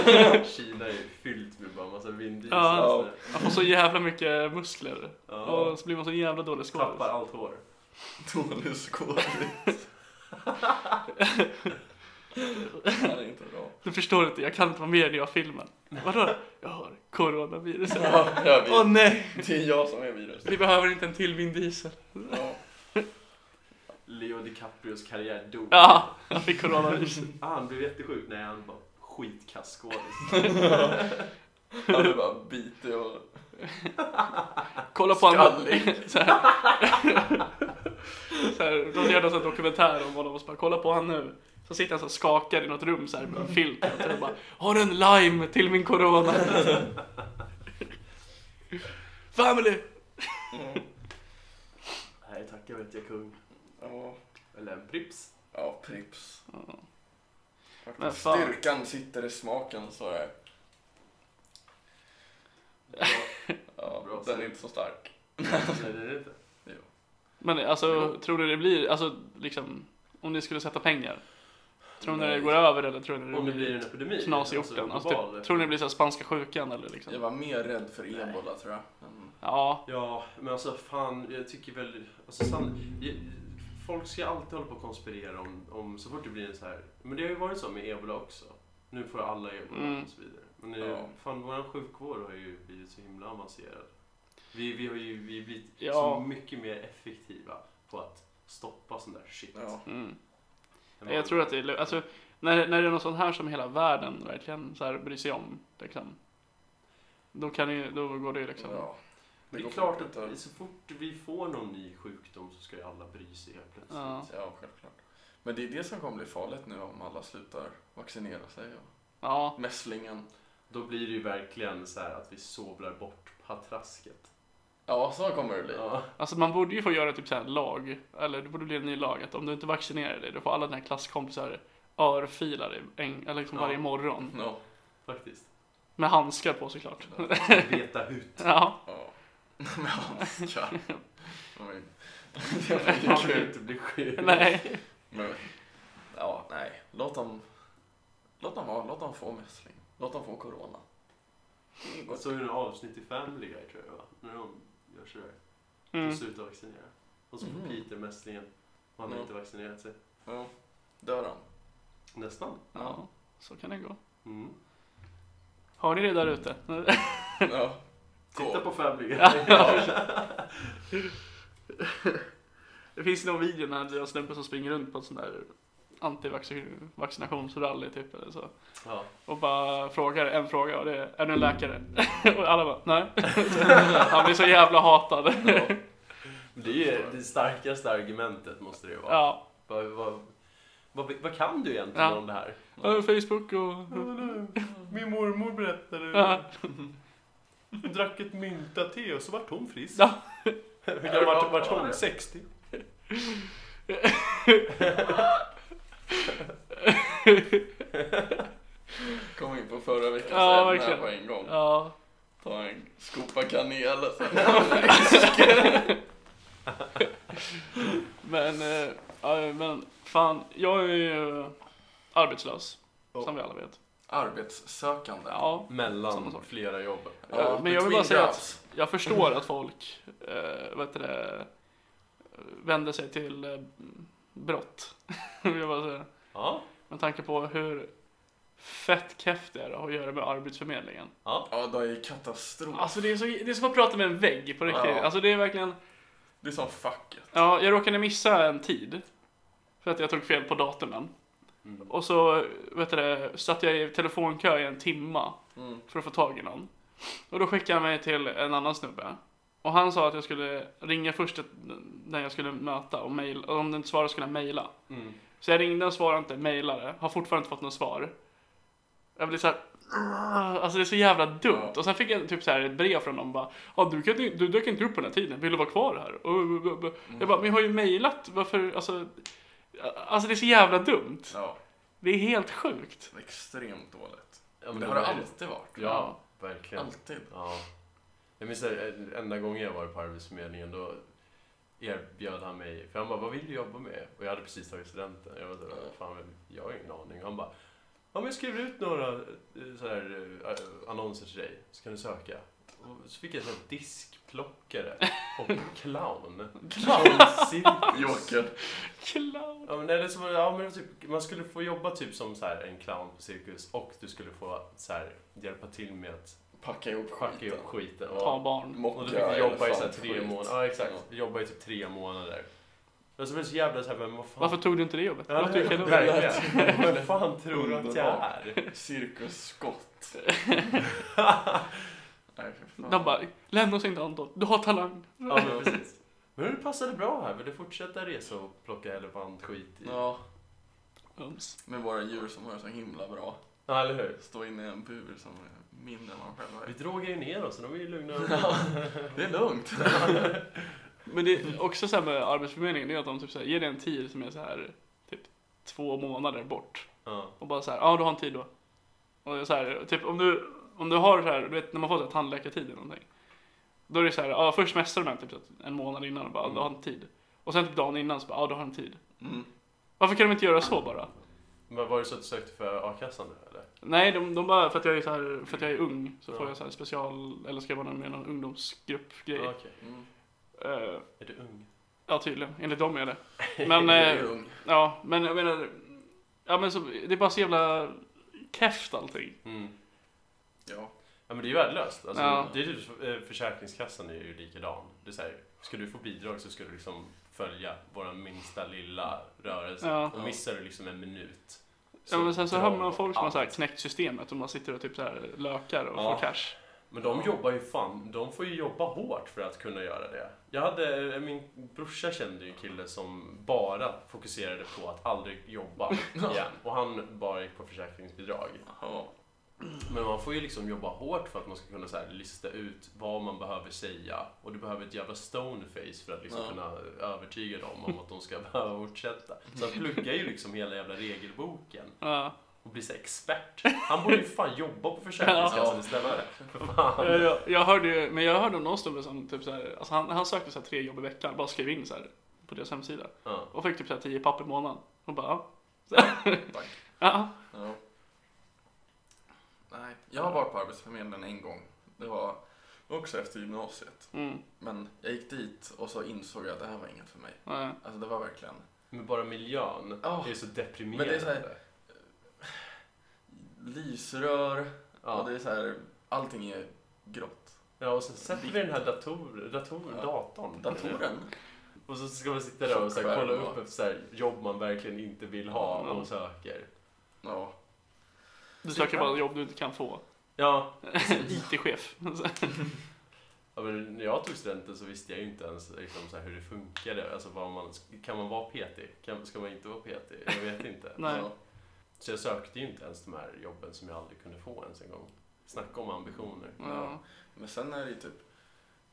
Speaker 2: Kina är fyllt med bara massa vind
Speaker 3: Ja.
Speaker 2: ja.
Speaker 3: Man får så jävla mycket muskler
Speaker 2: ja.
Speaker 3: och så blir man så jävla dålig skådis.
Speaker 2: Tappar allt hår.
Speaker 1: Dålig skådis. Han är inte bra.
Speaker 3: Du förstår inte, jag kan inte vara med när jag filmen. Vadå? Jag har coronavirus.
Speaker 1: Ja, jag vet.
Speaker 3: Åh nej!
Speaker 1: Det är jag som är virus.
Speaker 3: Vi behöver inte en till Vin Diesel.
Speaker 1: Ja.
Speaker 2: Leo DiCaprios karriär dog.
Speaker 3: Ja, jag fick coronavirus.
Speaker 2: Ah, han blev jättesjuk. Nej, han var skitkass skådis.
Speaker 1: Han är bara bitig och...
Speaker 3: Kolla på honom.
Speaker 1: Skallig.
Speaker 3: Så här. Så här, de gör någon sån här dokumentär om honom och så bara kolla på han nu. Så sitter han så och skakar i något rum så här med en filt och så bara Har du en lime till min corona? Family!
Speaker 1: Mm.
Speaker 2: Nej, tack jag vet jag kung.
Speaker 1: Ja.
Speaker 2: Eller en prips.
Speaker 1: ja, Pripps.
Speaker 3: Ja.
Speaker 1: Faktiskt.
Speaker 3: Men fan.
Speaker 1: Styrkan sitter i smaken, så är
Speaker 2: Ja,
Speaker 1: ja,
Speaker 2: Bra
Speaker 1: Den
Speaker 2: sagt.
Speaker 1: är inte så stark.
Speaker 2: Nej, det är det inte.
Speaker 3: Men alltså, tror du det blir, alltså liksom, om ni skulle sätta pengar? Tror ni det går över eller tror ni
Speaker 2: Om det
Speaker 3: det
Speaker 2: blir
Speaker 3: blir
Speaker 2: en epidemi.
Speaker 3: knas i orten? Alltså,
Speaker 2: global.
Speaker 3: typ, tror ni det blir så här spanska sjukan eller
Speaker 1: Jag
Speaker 3: liksom?
Speaker 1: var mer rädd för
Speaker 2: Nej.
Speaker 1: ebola tror jag. Men,
Speaker 3: Ja,
Speaker 2: Ja, men alltså fan, jag tycker väl... Alltså, san... jag- Folk ska alltid hålla på och konspirera om, om så fort det blir en så här... Men det har ju varit så med ebola också. Nu får alla ebola
Speaker 3: Mm.
Speaker 2: och så vidare. Men det,
Speaker 1: Ja.
Speaker 2: fan, vår sjukvård har ju blivit så himla avancerad. Vi, vi har ju vi har blivit
Speaker 3: Ja.
Speaker 2: så mycket mer effektiva på att stoppa sån där shit.
Speaker 1: ja.
Speaker 3: mm.
Speaker 2: än
Speaker 3: Nej, Jag
Speaker 2: vad-
Speaker 3: tror att det är, lu- alltså, när, när det är något sånt här som hela världen verkligen så här bryr sig om, liksom, då, kan det ju, då går det ju liksom.
Speaker 1: Ja.
Speaker 2: Men det är
Speaker 1: går
Speaker 2: klart
Speaker 1: fort
Speaker 2: att så fort vi får någon ny sjukdom så ska ju alla bry sig helt plötsligt.
Speaker 3: Ja.
Speaker 1: Ja, självklart. Men det är det som kommer bli farligt nu om alla slutar vaccinera sig.
Speaker 3: Ja,
Speaker 1: Och mässlingen.
Speaker 2: Då blir det ju verkligen så här att vi sovlar bort patrasket.
Speaker 1: Ja, så kommer det bli.
Speaker 2: Ja.
Speaker 3: alltså man borde ju få göra typ så här lag, eller det borde bli en ny lag att om du inte vaccinerar dig, då får alla dina klasskompisar örfilar i en, eller liksom
Speaker 2: Ja.
Speaker 3: varje morgon.
Speaker 1: Ja.
Speaker 2: Faktiskt.
Speaker 3: Med handskar på såklart.
Speaker 2: Veta hut.
Speaker 3: Ja,
Speaker 1: ja. Med handskar. Ja, men- Det
Speaker 2: Man
Speaker 1: var
Speaker 2: vill
Speaker 1: kul.
Speaker 2: inte bli sjuk.
Speaker 3: nej.
Speaker 1: Men, ja, nej. Låt dem, låt dem vara. Låt dem få mässling. Låt dem få corona. Det går-
Speaker 2: Jag såg ju en avsnitt i Family Guy tror jag va? När de gör sådär.
Speaker 3: Mm.
Speaker 2: De slutar vaccinera. Och så får
Speaker 1: Mm.
Speaker 2: Peter mässlingen. Och han har
Speaker 1: Ja.
Speaker 2: inte vaccinerat sig.
Speaker 1: Ja. Dör de?
Speaker 2: Nästan.
Speaker 3: Ja, så kan det gå.
Speaker 2: Mm.
Speaker 3: Har ni det där ute?
Speaker 1: Ja.
Speaker 2: Titta på Family Guy.
Speaker 3: Det finns någon video när det är en snubbe som springer runt på en sån där antivaccinationsrally typ eller så.
Speaker 2: Ja.
Speaker 3: Och bara frågar en fråga och det är, är du en läkare? och alla bara, nej. Han blir så jävla hatad.
Speaker 1: Ja.
Speaker 2: Men Det är ju det starkaste argumentet måste det ju vara.
Speaker 3: ja.
Speaker 2: Vad, vad, vad, vad kan du egentligen
Speaker 3: Ja.
Speaker 2: om det här?
Speaker 3: Ja, Facebook och...
Speaker 2: Min mormor berättade.
Speaker 3: Mm. Ja.
Speaker 2: Hon drack ett mynta te och så vart hon frisk.
Speaker 3: Ja.
Speaker 2: Hur
Speaker 1: gammal vart hon?
Speaker 2: 60?
Speaker 1: Kom in på förra veckans
Speaker 3: Ja,
Speaker 1: ämne
Speaker 3: verkligen.
Speaker 1: på en gång.
Speaker 3: Ja.
Speaker 1: Ta en skopa kanel och sen...
Speaker 3: Men, eh, ja, men fan, jag är ju eh, arbetslös. Som vi alla vet.
Speaker 1: Arbetssökande.
Speaker 3: Ja, Samma
Speaker 2: Mellan
Speaker 3: sak.
Speaker 2: flera jobb.
Speaker 3: Ja, men jag vill
Speaker 1: between
Speaker 3: bara säga att-
Speaker 1: jobs.
Speaker 3: jag förstår att folk eh, vad heter det, vänder sig till eh, brott. vill jag bara säga.
Speaker 2: Ja,
Speaker 3: Med tanke på hur fett keft det är att ha att göra med Arbetsförmedlingen.
Speaker 1: Ja, det är ju katastrof.
Speaker 3: Alltså det är, så, det är som att prata med en vägg på riktigt.
Speaker 1: Ja.
Speaker 3: Alltså det är verkligen,
Speaker 1: Det är som facket.
Speaker 3: ja, jag råkade missa en tid. För att jag tog fel på datumen.
Speaker 2: Mm.
Speaker 3: Och så vet du, det, satt jag i telefonkö i en timma
Speaker 1: Mm.
Speaker 3: för att få tag i någon. Och då skickade han mig till en annan snubbe. Och han sa att jag skulle ringa först ett- den jag skulle möta och mejla. Och om den inte svarade skulle jag mejla.
Speaker 2: Mm.
Speaker 3: Så jag ringde och svarade inte, mejlade. Har fortfarande inte fått något svar. Jag blir såhär... Alltså det är så jävla dumt.
Speaker 1: Ja.
Speaker 3: Och sen fick jag typ så här ett brev från dem bara. Ja, du, kan, du dök inte upp på den här tiden. Vill du vara kvar här? Och, och, och, och. Jag bara, men jag har ju mejlat. Varför? Alltså... Alltså det är så jävla dumt.
Speaker 1: Ja,
Speaker 3: Det är helt sjukt.
Speaker 1: det är extremt dåligt.
Speaker 2: Ja,
Speaker 1: Men
Speaker 2: men
Speaker 1: det
Speaker 2: de
Speaker 1: har det
Speaker 2: är-
Speaker 1: alltid varit.
Speaker 2: Ja, verkligen.
Speaker 1: Alltid.
Speaker 2: Ja. Jag minns det, enda gången jag var på Arbetsförmedlingen då erbjöd han mig, för han bara, vad vill du jobba med? Och jag hade precis tagit studenten. Jag var så, här, fan, jag har ingen aning. Han bara, ja men jag skriver ut några eh, så här, eh, annonser till dig, så kan du söka. Och så fick jag så här diskplockare och clown. Clowncirkus.
Speaker 1: Joker.
Speaker 3: Clown.
Speaker 2: Ja men, eller så var det, ja, men det var typ, man skulle få jobba typ som så här, en clown på cirkus och du skulle få så här, hjälpa till med att
Speaker 1: Packa ihop
Speaker 2: schacka ihop
Speaker 1: skiten.
Speaker 2: skiten.
Speaker 3: Ta
Speaker 2: Ja.
Speaker 3: barn.
Speaker 2: Och
Speaker 1: Mocka
Speaker 2: du fick jobba i så här,
Speaker 1: elefantskit.
Speaker 2: tre månader. Ja exakt, jobba i typ tre månader. Alltså det var så jävla såhär, men vad fan.
Speaker 3: Varför tog du inte det jobbet?
Speaker 2: Ja,
Speaker 3: Varför
Speaker 2: det
Speaker 3: gick jag
Speaker 2: är
Speaker 3: då?
Speaker 2: verkligen. Vad fan tror du att jag
Speaker 1: Underbart.
Speaker 2: är?
Speaker 1: Cirkusskott. Nej, för fan.
Speaker 3: De bara, lämna oss inte Anton. Du har talang.
Speaker 2: Ja men precis. Men du passade bra här, vill du fortsätta resa och plocka elefantskit i?
Speaker 1: Ja,
Speaker 3: Mums.
Speaker 1: med våra djur som har det så himla bra.
Speaker 2: Ja eller hur?
Speaker 1: Stå inne i en bur som är mindre än man själv
Speaker 2: Vi
Speaker 1: är.
Speaker 2: drogar ju ner oss, så de är ju lugna.
Speaker 1: Det är lugnt.
Speaker 3: Men det är också så här med Arbetsförmedlingen, det är att de typ så här, ger dig en tid som är så här typ två månader bort.
Speaker 2: Ja.
Speaker 3: Och bara så här, ja du har en tid då. Och det är så här, typ om du, om du har så här, du vet när man får så här tandläkartid eller någonting. Då är det så här, ja först messar de en typ så att en månad innan och bara, ja, du har en tid. Och sen typ dagen innan så bara, ja du har en tid.
Speaker 1: Mm.
Speaker 3: Varför kan de inte göra så bara?
Speaker 2: Men var det så att du sökte för a-kassan nu eller?
Speaker 3: Nej, de, de bara, för att jag är så här, för att jag är ung så
Speaker 2: Ja.
Speaker 3: får jag så här special, eller ska jag vara med i någon ungdomsgrupp
Speaker 2: Ja,
Speaker 3: grej.
Speaker 2: Okej.
Speaker 1: Mm.
Speaker 3: Eh,
Speaker 2: Är du ung?
Speaker 3: Ja, tydligen. Enligt dem är det. Men,
Speaker 1: Det är
Speaker 3: eh,
Speaker 1: ung.
Speaker 3: ja, men jag menar, ja men så, det är bara så jävla keft allting.
Speaker 2: Mm.
Speaker 1: Ja.
Speaker 2: Ja men det är ju värdelöst. Alltså,
Speaker 3: Ja.
Speaker 2: det är ju- eh, försäkringskassan är ju likadan. Det är så här, ska du få bidrag så ska du liksom följa vår minsta lilla rörelse.
Speaker 3: Ja.
Speaker 2: Och missar du liksom en minut.
Speaker 3: Ja, men sen så hör
Speaker 2: drar
Speaker 3: man folk som har
Speaker 2: allt.
Speaker 3: så här knäckt systemet och man sitter och typ så här lökar och
Speaker 2: Ja.
Speaker 3: får cash.
Speaker 2: Men de jobbar ju fan, de får ju jobba hårt för att kunna göra det. Jag hade, eh, min brorsa kände ju en kille som bara fokuserade på att aldrig jobba igen. Och han bara gick på försäkringsbidrag.
Speaker 1: Ja.
Speaker 2: Men man får ju liksom jobba hårt för att man ska kunna så här lista ut vad man behöver säga. Och du behöver ett jävla stoneface för att liksom
Speaker 1: Ja.
Speaker 2: kunna övertyga dem om att de ska behöva fortsätta. Så han pluggar ju liksom hela jävla regelboken
Speaker 3: Ja.
Speaker 2: och blir så expert. Han borde ju fan jobba på Försäkringskassan
Speaker 1: Ja.
Speaker 2: istället. För fan.
Speaker 3: Jag, jag, jag hörde ju, men jag hörde om någon snubbe som typ så här, alltså han, han sökte så här tre jobb i veckan, bara skrev in så här på deras hemsida.
Speaker 2: Ja.
Speaker 3: Och fick typ så här tio papper i månaden. Och bara, ja.
Speaker 1: Tack.
Speaker 3: ja.
Speaker 1: Ja. Nej, jag har varit på Arbetsförmedlingen en gång. Det var också efter gymnasiet.
Speaker 3: Mm.
Speaker 1: Men jag gick dit och så insåg jag att det här var inget för mig.
Speaker 3: Ja.
Speaker 1: Alltså det var verkligen...
Speaker 2: Men bara miljön
Speaker 1: Ja.
Speaker 2: är ju så deprimerande.
Speaker 1: Men det är så här- Lysrör och
Speaker 2: ja.
Speaker 1: det är så här, allting är grått.
Speaker 2: ja, och sen sätter vi den här dator, dator,
Speaker 1: Ja.
Speaker 2: datorn.
Speaker 1: Datoren?
Speaker 2: Och så ska man sitta där och så här,
Speaker 1: Chockskärm,
Speaker 2: kolla
Speaker 1: va?
Speaker 2: upp efter så här, jobb man verkligen inte vill ha
Speaker 3: Ja.
Speaker 2: och söker.
Speaker 1: Ja.
Speaker 3: Du söker bara jobb du inte kan få.
Speaker 2: Ja,
Speaker 3: IT-chef.
Speaker 2: ja, men när jag tog studenten så visste jag ju inte ens liksom, så här, hur det funkade. Alltså, vad man, kan man vara PT? Kan, ska man inte vara PT? Jag vet inte.
Speaker 3: Nej.
Speaker 1: Ja.
Speaker 2: Så jag sökte ju inte ens de här jobben som jag aldrig kunde få ens en gång. Snacka om ambitioner.
Speaker 3: Ja.
Speaker 1: Men sen är det ju typ,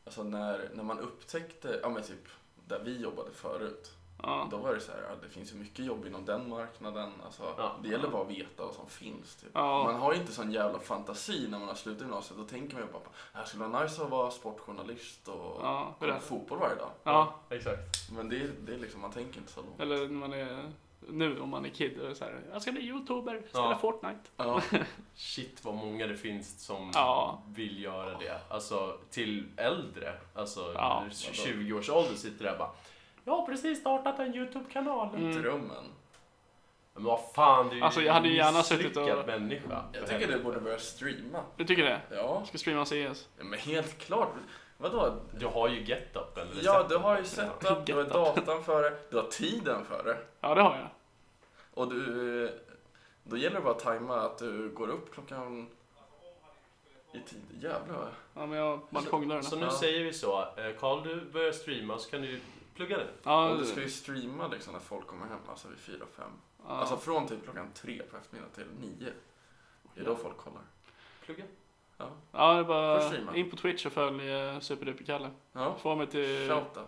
Speaker 1: alltså när, när man upptäckte, ja men typ där vi jobbade förut.
Speaker 3: Ja.
Speaker 1: Då var det så här, ja, det finns ju mycket jobb inom den marknaden. Alltså,
Speaker 2: Ja.
Speaker 1: Det gäller bara att veta vad som finns. Typ.
Speaker 3: Ja.
Speaker 1: Man har ju inte sån jävla fantasi när man har slutat gymnasiet. Då tänker man ju bara, här skulle vara nice att vara sportjournalist och
Speaker 3: Ja, det är
Speaker 1: kolla på
Speaker 3: det.
Speaker 1: fotboll varje dag.
Speaker 3: Ja,
Speaker 2: Exakt.
Speaker 1: Men det, är- det är liksom, man tänker inte så långt.
Speaker 3: eller när man är nu om man är kid, är det så här, jag ska bli youtuber, spela
Speaker 2: Ja.
Speaker 3: Fortnite.
Speaker 1: Ja,
Speaker 2: Shit vad många det finns som
Speaker 3: Ja.
Speaker 2: vill göra det. Alltså till äldre, alltså
Speaker 3: Ja.
Speaker 2: 20 års ålder sitter där och bara Jag har precis startat en YouTube-kanal.
Speaker 3: Mm.
Speaker 1: drömmen.
Speaker 2: Men vad fan, du är ju
Speaker 3: Alltså, jag hade ju gärna suttit och-
Speaker 2: misslyckad människa.
Speaker 1: Jag tycker du borde börja streama.
Speaker 3: Du tycker det?
Speaker 1: Ja,
Speaker 3: Jag ska streama CS.
Speaker 1: Ja, men helt klart. Vadå?
Speaker 2: Du har ju getupen. eller
Speaker 1: Ja,
Speaker 2: setupen.
Speaker 1: du har ju setup, du har
Speaker 3: Get
Speaker 1: datan för det, du har tiden för det.
Speaker 3: Ja, det har jag.
Speaker 1: Och du, då gäller det bara att tajma att du går upp klockan i tid. Jävlar.
Speaker 3: Ja, men jag har balkongdörrarna.
Speaker 2: Så nu
Speaker 1: Ja.
Speaker 2: säger vi så. eh, Karl, du börjar streama så kan du ju plugga det.
Speaker 3: Ja,
Speaker 1: Och du ska ju streama liksom när folk kommer hem, alltså vid fyra och fem.
Speaker 3: ja.
Speaker 1: Alltså från typ klockan tre på eftermiddagen till nio. Det är då folk kollar.
Speaker 2: Plugga.
Speaker 3: ja, det är
Speaker 1: Först streama.
Speaker 3: bara in på Twitch och följ eh, Superduper-Kalle.
Speaker 1: Ja,
Speaker 3: Få mig till...
Speaker 1: shoutout.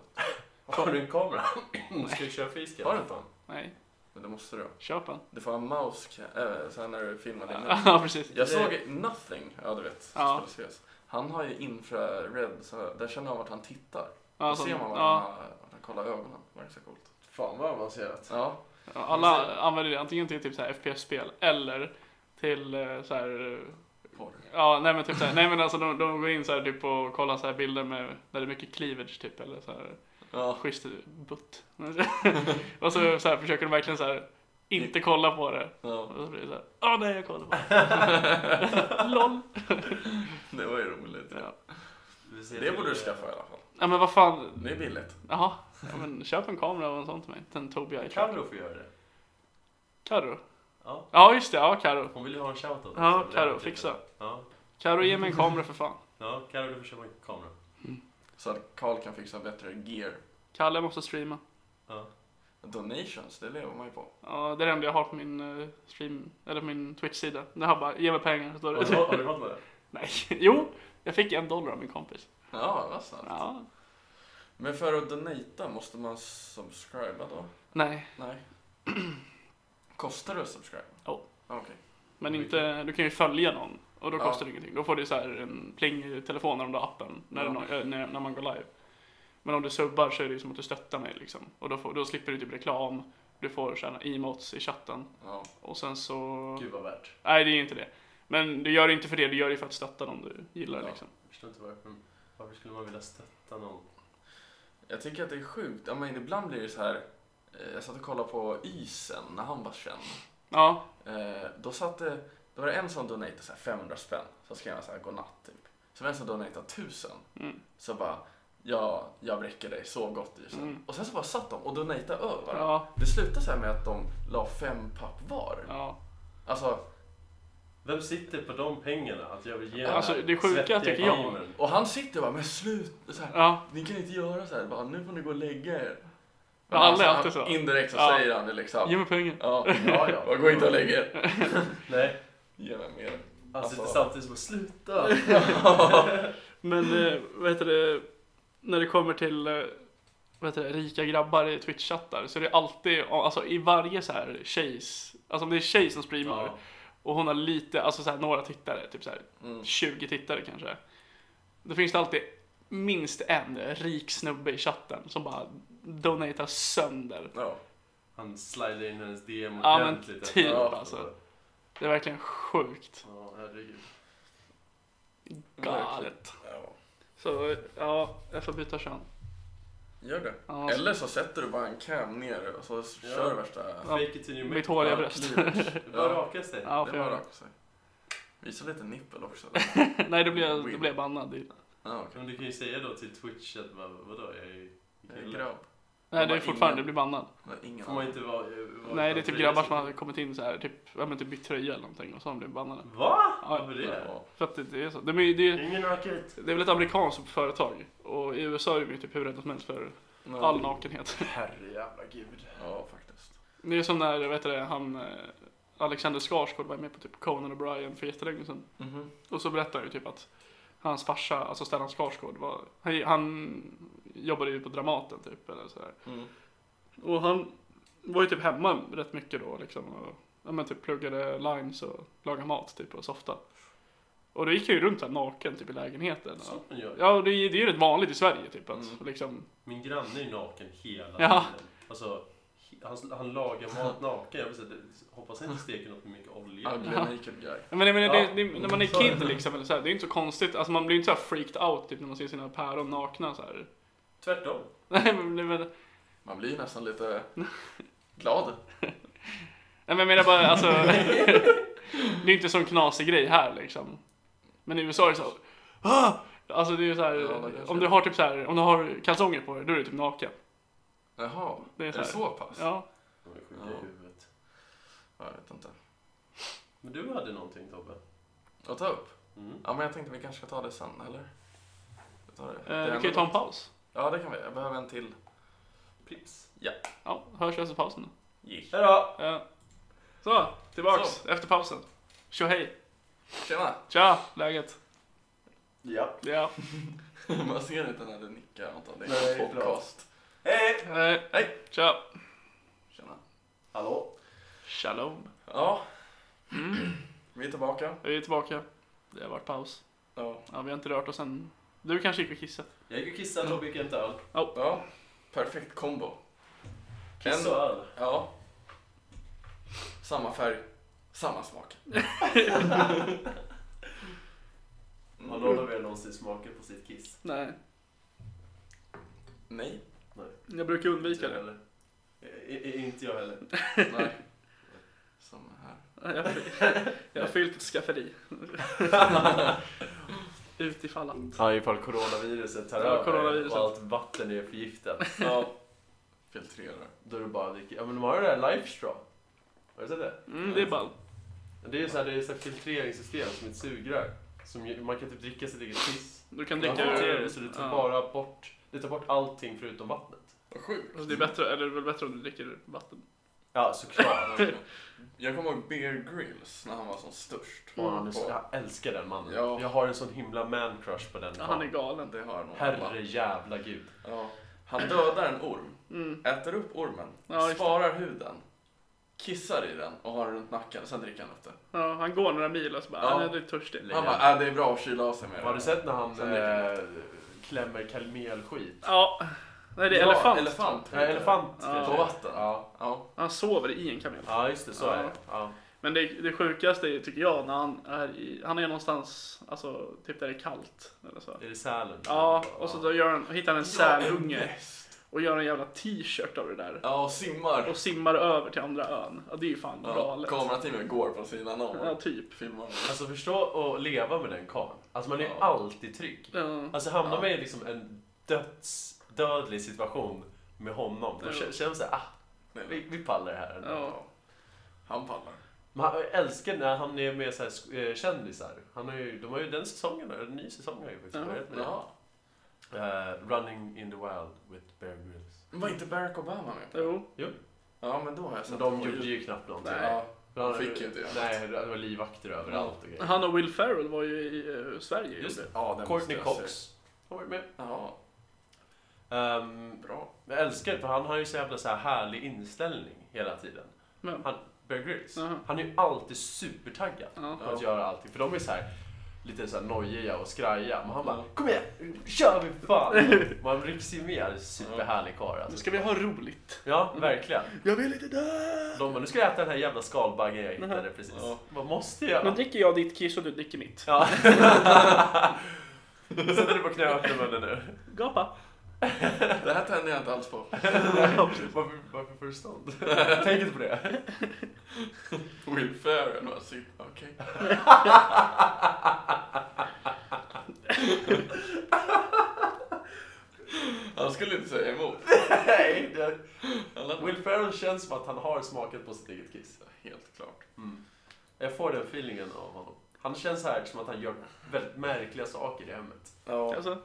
Speaker 2: Har du en kamera? Ska du köra fiskar?
Speaker 1: Har du inte?
Speaker 3: Nej,
Speaker 1: Men det måste du.
Speaker 3: köp en.
Speaker 1: Du får ha mouse äh, sen när du filmar din
Speaker 3: Ja, precis.
Speaker 1: Jag
Speaker 2: Det-
Speaker 1: såg Nothing, ja du vet, som
Speaker 3: Ja.
Speaker 1: skulle ses. Han har ju infrared, så där känner han vart han tittar.
Speaker 3: Ja,
Speaker 1: Då
Speaker 3: sån-
Speaker 1: ser man vart
Speaker 3: ja.
Speaker 1: han, har- vart han kollar ögonen. Det verkar så coolt.
Speaker 2: Fan vad avancerat.
Speaker 1: Ja,
Speaker 3: Ja, Alla använder det antingen till typ så här FPS-spel eller till eh, så här... eh,
Speaker 1: porr.
Speaker 3: Ja, nej men typ så här, nej men alltså de, de går in så här typ och kollar så här bilder med, där det är mycket cleavage typ eller så här
Speaker 1: Ja.
Speaker 3: schysst butt. och så, så här försöker de verkligen så här inte kolla på det.
Speaker 1: ja.
Speaker 3: Och så blir det så här, ah nej jag kollar på det. LOL.
Speaker 1: Det var ju roligt.
Speaker 3: Ja.
Speaker 1: Det borde du
Speaker 2: eh,
Speaker 1: skaffa i alla fall.
Speaker 3: ja men vad fan,
Speaker 1: Det är billigt.
Speaker 3: jaha. Ja, men köp en kamera och en sån till mig. Till en Tobii iCloud.
Speaker 2: Carro får göra det.
Speaker 3: Carro?
Speaker 2: Ja.
Speaker 3: Ja just det, ja Carro.
Speaker 2: Hon vill ju ha en shoutout.
Speaker 3: Ja,
Speaker 2: också.
Speaker 3: Carro, fixa.
Speaker 2: Ja,
Speaker 3: Carro ge mig en kamera för fan.
Speaker 2: ja Carro du får köpa en kamera.
Speaker 1: Så att Carl kan fixa bättre gear.
Speaker 3: Kalle måste streama.
Speaker 2: Ja.
Speaker 1: Donations, det lever man ju på.
Speaker 3: Ja, det är det enda jag har på min eh, stream, eller på min Twitch-sida. Det här bara, ge mig pengar. Står
Speaker 2: Har, du, har du
Speaker 3: det.
Speaker 2: fått några?
Speaker 3: Nej, jo, jag fick en dollar av min kompis.
Speaker 1: Ja, vad snällt.
Speaker 3: Ja,
Speaker 1: Men för att donata måste man subscriba då?
Speaker 3: nej,
Speaker 1: Nej. Kostar det att subscribe?
Speaker 3: Ja.
Speaker 1: Okej.
Speaker 3: men inte, du kan ju följa någon och då
Speaker 1: Ja.
Speaker 3: kostar det ingenting. Då får du så här en pling i telefonen om du har appen när,
Speaker 1: Ja.
Speaker 3: det nå- eh, när, när man går live. Men om du subbar så är det ju som att du stöttar mig liksom. Och då, får, då slipper du typ reklam, du får tjäna emotes i chatten
Speaker 1: Ja.
Speaker 3: och sen så...
Speaker 2: Gud vad värt.
Speaker 3: Nej, det är ju inte det. Men du gör det inte för det, du gör det för att stötta dem du gillar
Speaker 1: Ja.
Speaker 3: liksom.
Speaker 2: Jag förstår inte varför. Mm. Varför skulle man vilja stötta någon?
Speaker 1: Jag tycker att det är sjukt. Jag menar, ibland blir det så här. eh, Jag satt och kollade på Isen när han var känd.
Speaker 3: Ja,
Speaker 1: Eh, Då, satt det, då var det en som donatade så här 500 spänn. Så skrev han så här godnatt typ. Så var det en som donatade 1000.
Speaker 3: mm.
Speaker 1: Så bara, ja, jag bräcker dig, sov gott Isen.
Speaker 3: Mm.
Speaker 1: Och sen så bara satt de och donatade över varandra.
Speaker 3: ja,
Speaker 1: Det slutade så här med att de la fem papp var.
Speaker 3: ja.
Speaker 1: Alltså,
Speaker 2: Vem sitter på de pengarna? Att jag vill ge
Speaker 3: Alltså,
Speaker 2: den här
Speaker 3: det sjuka
Speaker 2: svettiga
Speaker 3: tycker jag-
Speaker 2: gamern?
Speaker 1: och han sitter och bara, men sluta. Så här,
Speaker 3: Ja,
Speaker 1: Ni kan inte göra så här. Bara, nu får ni gå och lägga er.
Speaker 3: Ja, alla är
Speaker 1: han-
Speaker 3: alltid så.
Speaker 1: Indirekt så
Speaker 3: Ja.
Speaker 1: säger han det liksom.
Speaker 3: ge mig pengar.
Speaker 1: Ja, ja, ja. Bara, Gå inte och lägg er.
Speaker 2: Nej,
Speaker 1: Ge mig mer.
Speaker 2: han sitter
Speaker 1: Alltså.
Speaker 2: samtidigt som sluta.
Speaker 3: Men eh, vad heter det, när det kommer till eh, vad heter det, rika grabbar i Twitch-chattar så är det alltid, alltså i varje så här tjejs, alltså om det är tjej som streamar
Speaker 2: Ja.
Speaker 3: och hon har lite, alltså så här några tittare, typ så här
Speaker 1: Mm.
Speaker 3: 20 tittare kanske. Då finns det alltid minst en rik snubbe i chatten som bara donatar sönder.
Speaker 1: Ja.
Speaker 2: Han slider in hennes DM
Speaker 3: Ja, men
Speaker 2: ordentligt.
Speaker 3: typ,
Speaker 2: efteråt.
Speaker 3: alltså. Det är verkligen sjukt.
Speaker 2: Ja, herregud.
Speaker 3: Galet.
Speaker 1: Ja.
Speaker 3: Så eh, ja, jag får byta kön.
Speaker 1: Gör det.
Speaker 3: Ja,
Speaker 1: Eller så sätter du bara en cam ner och så
Speaker 2: Ja.
Speaker 1: kör du värsta...
Speaker 3: Ja.
Speaker 2: Fake it till you make
Speaker 3: Mitt håriga
Speaker 1: Ja,
Speaker 3: bröst.
Speaker 1: cleavage.
Speaker 2: it. Du bara rakar sig.
Speaker 3: Ja,
Speaker 1: Det
Speaker 3: får
Speaker 1: var
Speaker 3: jag.
Speaker 1: rakt sig. Visa lite nippel också.
Speaker 3: Nej, då blir jag, då
Speaker 1: Weird.
Speaker 3: blir jag bannad. i-
Speaker 1: Ja, okej.
Speaker 2: Men du kan ju säga då till Twitch att vad- vadå, jag är ju
Speaker 1: Jag är
Speaker 2: kille.
Speaker 1: grabb.
Speaker 3: Nej, det
Speaker 1: bara
Speaker 3: är fortfarande,
Speaker 1: ingen-
Speaker 3: du blir bannad.
Speaker 1: Jag har ingen
Speaker 2: Får man
Speaker 1: aning.
Speaker 2: inte vara... vara
Speaker 3: Nej, det är typ
Speaker 2: tröja
Speaker 3: grabbar
Speaker 2: så-
Speaker 3: som har kommit in så här, typ, ja men typ bytt tröja eller någonting och så har de blivit bannade.
Speaker 2: Va?
Speaker 3: Ja,
Speaker 2: Varför det?
Speaker 1: Ja.
Speaker 3: för att det, det är så. Det, det, det, är-
Speaker 2: Ingen naket.
Speaker 3: det är väl ett amerikanskt företag och i USA är vi typ hur rädda som helst för
Speaker 1: Ja.
Speaker 3: all nakenhet.
Speaker 2: Herre jävla gud.
Speaker 1: Ja, faktiskt.
Speaker 3: Det är som när, vet du det, han eh, Alexander Skarsgård var med på typ Conan O'Brien för jättelänge sedan.
Speaker 1: Mhm.
Speaker 3: Och så berättar han ju typ att hans farsa, alltså Stellan Skarsgård, var, han, han jobbade ju på Dramaten typ eller så här.
Speaker 1: Mm.
Speaker 3: Och han var ju typ hemma rätt mycket då liksom. Och, ja, men typ pluggade lines och lagade mat typ och softa. Och då gick han ju runt så här naken typ i lägenheten.
Speaker 2: Så
Speaker 3: Och,
Speaker 2: man gör.
Speaker 3: ja, och det, är- det är ju rätt vanligt i Sverige typ att
Speaker 1: Mm.
Speaker 3: liksom.
Speaker 2: Min granne är naken hela
Speaker 3: Ja.
Speaker 2: tiden. Alltså, he- han, han lagar mat naken. Jag vill säga, det, hoppas han inte steker något med mycket olja.
Speaker 1: Ugly naked guy.
Speaker 3: Men jag menar,
Speaker 2: Ja.
Speaker 3: det, det, när man är kid liksom eller så här, det är inte så konstigt. Alltså man blir ju inte så här freaked out typ när man ser sina päron nakna så här.
Speaker 2: Tvärtom.
Speaker 3: Nej men, men, nej,
Speaker 1: Man blir ju nästan lite glad.
Speaker 3: men jag menar bara alltså. det är inte en sån knasig grej här liksom. Men i USA är det så här, "Ah!" Alltså det är ju så här,
Speaker 1: Ja, men kanske.
Speaker 3: om du har typ så här, om du har kalsonger på dig, då är du typ naken.
Speaker 1: Jaha,
Speaker 3: Det är
Speaker 1: är
Speaker 3: så
Speaker 1: det
Speaker 3: här.
Speaker 1: så pass?
Speaker 3: Ja.
Speaker 2: De är sjuka
Speaker 1: Ja.
Speaker 2: i huvudet.
Speaker 1: Ja, Jag vet inte.
Speaker 2: Men du hade någonting Tobbe?
Speaker 1: Att ta upp?
Speaker 2: Mm.
Speaker 1: Ja, men jag tänkte vi kanske ska ta det sen, eller? Vi tar det. Det
Speaker 3: Eh,
Speaker 1: är
Speaker 3: vi kan ju
Speaker 1: ändå-
Speaker 3: ta en paus.
Speaker 1: Ja, det kan vi. Jag behöver en till.
Speaker 2: Pips.
Speaker 3: Ja, hörs vi efter pausen
Speaker 2: Hejdå!
Speaker 3: då. Eh, så, tillbaks efter pausen. Tjo hej.
Speaker 1: Tjena!
Speaker 3: Tja, läget?
Speaker 2: Ja.
Speaker 3: Ja.
Speaker 1: Man ser inte när du nickar Anton. Det
Speaker 2: Nej,
Speaker 1: är
Speaker 2: det är
Speaker 1: en
Speaker 2: klart.
Speaker 1: podcast.
Speaker 2: Hej!
Speaker 3: Hej.
Speaker 1: Hej.
Speaker 3: Eh, Tja.
Speaker 1: Tjena.
Speaker 2: Hallå?
Speaker 3: Shalom.
Speaker 1: Ja,
Speaker 3: Mm.
Speaker 1: vi är tillbaka.
Speaker 3: Vi är tillbaka. Det har varit paus.
Speaker 1: Ja,
Speaker 3: Ja, vi har inte rört oss än. Du kanske gick och kissade?
Speaker 2: Jag gick och kissade, Tobbe gick och hämtade öl.
Speaker 1: ja. perfekt kombo.
Speaker 2: Kiss och öl.
Speaker 1: Ja. Samma färg, samma smak.
Speaker 2: Har någon av er någonsin smakat på sitt kiss?
Speaker 3: Nej.
Speaker 1: Nej.
Speaker 3: Jag brukar undvika det.
Speaker 2: Typ, Eller? I, i, inte jag heller.
Speaker 1: Nej. Som här.
Speaker 3: Jag har, jag har fyllt ett skafferi. Ut i fallan.
Speaker 2: Ja, ifall coronaviruset tar
Speaker 3: Ja,
Speaker 2: över
Speaker 3: coronaviruset.
Speaker 2: och allt vatten är förgiftat.
Speaker 1: Ja. Filtrera.
Speaker 2: Då är det bara att dricka. Ja, men de har ju det här Life Straw. Har du sett det?
Speaker 3: Mm, det är ball.
Speaker 2: Det är ju så här, det är så här filtreringssystem som ett sugrör. Som, ju- man kan typ dricka sitt eget piss.
Speaker 3: Du kan
Speaker 2: Man
Speaker 3: dricka
Speaker 2: filtrerar
Speaker 3: ur...
Speaker 2: det så det tar
Speaker 3: ja.
Speaker 2: bara bort, det tar bort allting förutom vattnet.
Speaker 1: Vad sjukt.
Speaker 3: Alltså, det är bättre, eller det är väl bättre om du dricker vatten.
Speaker 2: Ja, såklart.
Speaker 1: Jag kommer ihåg Bear Grylls när han var som störst.
Speaker 3: Mm,
Speaker 2: Åh, han är så, jag älskar den mannen.
Speaker 1: Ja.
Speaker 2: Jag har en sån himla man-crush på den.
Speaker 3: Ja, han är
Speaker 2: mannen.
Speaker 3: galen.
Speaker 1: Det har nog alla.
Speaker 2: Herre jävla gud.
Speaker 1: Ja. Han dödar en orm,
Speaker 3: Mm.
Speaker 1: äter upp ormen,
Speaker 3: Ja, just det.
Speaker 1: sparar huden, kissar i den och har den runt nacken. Sen dricker han upp det.
Speaker 3: Ja, han går några mil och så bara,
Speaker 1: Ja.
Speaker 3: ja. jag är lite törstig.
Speaker 1: Han bara, äh, det är bra att kyla av sig med det.
Speaker 2: Har du sett när han
Speaker 1: Sen dricker
Speaker 2: eh, klämmer kamelskit?
Speaker 3: Ja. Nej, det är
Speaker 1: Ja,
Speaker 3: elefant.
Speaker 1: elefant.
Speaker 2: Ja, elefant.
Speaker 3: Ja.
Speaker 2: kanske.
Speaker 1: På vatten.
Speaker 2: Ja.
Speaker 1: Ja.
Speaker 3: Han sover i en kamel.
Speaker 2: ja, just det. Så
Speaker 3: Ja.
Speaker 2: är det. Ja.
Speaker 3: Men det, det sjukaste är, tycker jag när han är i, han är någonstans, alltså typ där det är kallt. Eller så.
Speaker 2: Är det Sälen?
Speaker 3: Ja, och så då gör han, hittar han en sälunge
Speaker 1: Yes.
Speaker 3: och gör en jävla t-shirt av det där.
Speaker 1: Ja, och simmar.
Speaker 3: Och simmar över till andra ön. Ja, det är ju fan
Speaker 1: Ja,
Speaker 3: galet.
Speaker 1: Kamerateamet går på sidan om
Speaker 3: Ja,
Speaker 1: och
Speaker 3: typ.
Speaker 1: filmar.
Speaker 2: Alltså förstå att leva med den karln. Alltså man är ju
Speaker 1: Ja.
Speaker 2: alltid trygg.
Speaker 3: Ja.
Speaker 2: Alltså hamnar
Speaker 1: Ja.
Speaker 2: man i liksom en dödsdödlig situation med honom, då
Speaker 3: Ja.
Speaker 2: kä- känner man såhär, ah,
Speaker 1: Nej,
Speaker 2: vi, vi pallar det här.
Speaker 3: Ja.
Speaker 1: Han pallar.
Speaker 2: Men han- jag älskar när han är med så här, sk- eh, kändisar. Han har ju, de har ju den säsongen, eller en ny säsong har ju faktiskt
Speaker 3: Jaha.
Speaker 2: börjat med det.
Speaker 1: Ja.
Speaker 2: Eh, Running in the wild with Bear Grylls.
Speaker 1: Men Var inte Barack Obama med?
Speaker 3: Jo.
Speaker 1: Ja, men då har jag
Speaker 2: Så
Speaker 1: sett
Speaker 2: de
Speaker 1: på
Speaker 2: gjorde
Speaker 1: YouTube.
Speaker 2: ju knappt någonting.
Speaker 1: Ja,
Speaker 2: Men han-
Speaker 1: de fick ju inte göra
Speaker 2: Nej, det var livvakter överallt och grejer.
Speaker 3: Han och Will Ferrell var ju i eh, Sverige.
Speaker 2: Just
Speaker 3: gjorde.
Speaker 1: ja, den
Speaker 2: Courtney
Speaker 1: måste jag
Speaker 2: Cox har varit med.
Speaker 1: se. Ja,
Speaker 2: Ehm,
Speaker 1: bra.
Speaker 2: Jag älskar det, för han har ju så jävla så här härlig inställning hela tiden.
Speaker 3: Men,
Speaker 2: Han, Bear Grylls.
Speaker 3: Jaha.
Speaker 2: Han är ju alltid supertaggad
Speaker 3: ja.
Speaker 2: på att göra allting. För de är så här lite så här nojiga och skraja. Men han bara
Speaker 1: Ja.
Speaker 2: Kom igen, nu kör vi för fan! Man rycks ju med. Han är en Superhärlig karl
Speaker 3: Nu
Speaker 2: alltså.
Speaker 3: ska vi ha roligt.
Speaker 2: Ja, verkligen.
Speaker 3: Jag vill inte dö!
Speaker 2: De bara, nu ska jag äta den här jävla skalbaggen jag hittade precis.
Speaker 1: Ja.
Speaker 2: Vad måste
Speaker 3: Nu
Speaker 2: jag?
Speaker 3: dricker jag ditt kiss och du dricker mitt.
Speaker 2: Ja. Sätter du på knä och öppnar munnen nu.
Speaker 3: Gapa.
Speaker 1: Det här tänder jag inte alls på.
Speaker 2: Varför, varför får du stånd? Tänk inte på det.
Speaker 1: Will Ferrell var sin. Okej. Han skulle inte säga emot.
Speaker 2: Nej, det...
Speaker 1: Eller?
Speaker 2: Will Ferrell känns som att han har smakat på sitt eget kiss.
Speaker 1: Helt klart.
Speaker 2: Mm. Jag får den feelingen av honom. Han känns här som att han gör väldigt märkliga saker i hemmet.
Speaker 1: Ja.
Speaker 3: Alltså,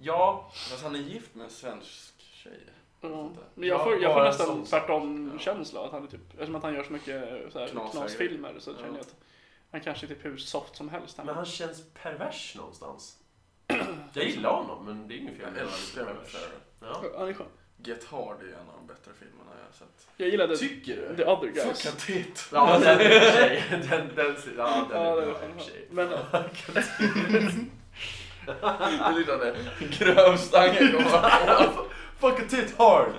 Speaker 2: Ja,
Speaker 1: Fast han är gift med en svensk tjej.
Speaker 3: ja.
Speaker 1: Sånt där.
Speaker 3: Men jag
Speaker 2: Ja,
Speaker 3: får, jag får
Speaker 2: bara en
Speaker 3: nästan
Speaker 2: sån
Speaker 1: sak.
Speaker 3: tvärtom-känsla. Att han är typ, eftersom att han gör så mycket eh, så här,
Speaker 1: Knasiga
Speaker 3: knasfilmer så
Speaker 1: grejer.
Speaker 3: känner jag att han kanske är typ hur soft som helst.
Speaker 2: men han känns pervers någonstans. Jag gillar honom, men det är inget fel
Speaker 1: Jag
Speaker 2: med att vara lite
Speaker 1: älskar Will
Speaker 2: pervers.
Speaker 1: Ferrell.
Speaker 2: Ja.
Speaker 3: Han är skön.
Speaker 1: Get Hard är en av de bättre filmerna jag har sett.
Speaker 3: Jag gillade
Speaker 2: Tycker du?
Speaker 3: The Other Guys.
Speaker 1: Fucking titt!
Speaker 2: Ja, den är i och för sig. Den, den, ja, den
Speaker 3: Ja,
Speaker 2: är bra
Speaker 3: det var
Speaker 2: i och för sig.
Speaker 3: Men eh,
Speaker 1: Det lyder grövstangen går
Speaker 2: Fuck a tit hard!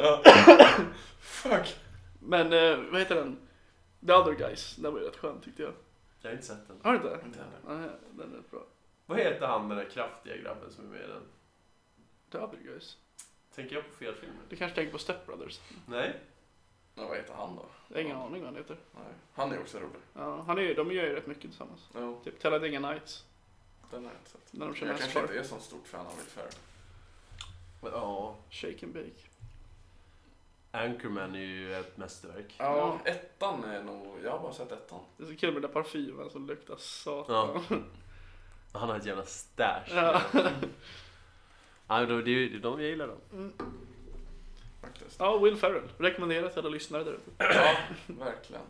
Speaker 1: Fuck!
Speaker 3: Men eh, vad heter den? The Other Guys. Den var ju rätt skön tyckte jag.
Speaker 2: Jag har inte sett den.
Speaker 3: Har du inte?
Speaker 1: Inte heller.
Speaker 3: Nej, den är bra.
Speaker 2: Vad heter han den där kraftiga grabben som är med i den?
Speaker 3: The Other Guys.
Speaker 2: Tänker jag på fel film? nu?
Speaker 3: Du kanske tänker på Step Brothers?
Speaker 2: Nej?
Speaker 1: Ja, vad heter han då?
Speaker 3: Jag har ingen aning vad han heter.
Speaker 1: Nej. Han är också rolig.
Speaker 3: Ja, han är, ju- de gör ju rätt mycket tillsammans.
Speaker 1: Jo,
Speaker 3: Typ Talladega Nights.
Speaker 1: den har jag inte sett.
Speaker 3: När de kör
Speaker 1: Jag kanske
Speaker 3: NASCAR.
Speaker 1: inte är så stort fan av Will Ferrell.
Speaker 2: Ja.
Speaker 3: Shake and Bake.
Speaker 2: Anchorman är ju ett mästerverk.
Speaker 1: Ja, ettan är nog... Jag har bara sett ettan.
Speaker 3: Det är så kul med den där parfymen som luktar satan.
Speaker 2: Han har ett jävla stash.
Speaker 3: Ja.
Speaker 2: Ja, men de, det är ju- de jag gillar dem.
Speaker 1: Faktiskt.
Speaker 3: Ja, Will Ferrell. Rekommenderat till alla lyssnare där ute.
Speaker 1: Ja, verkligen.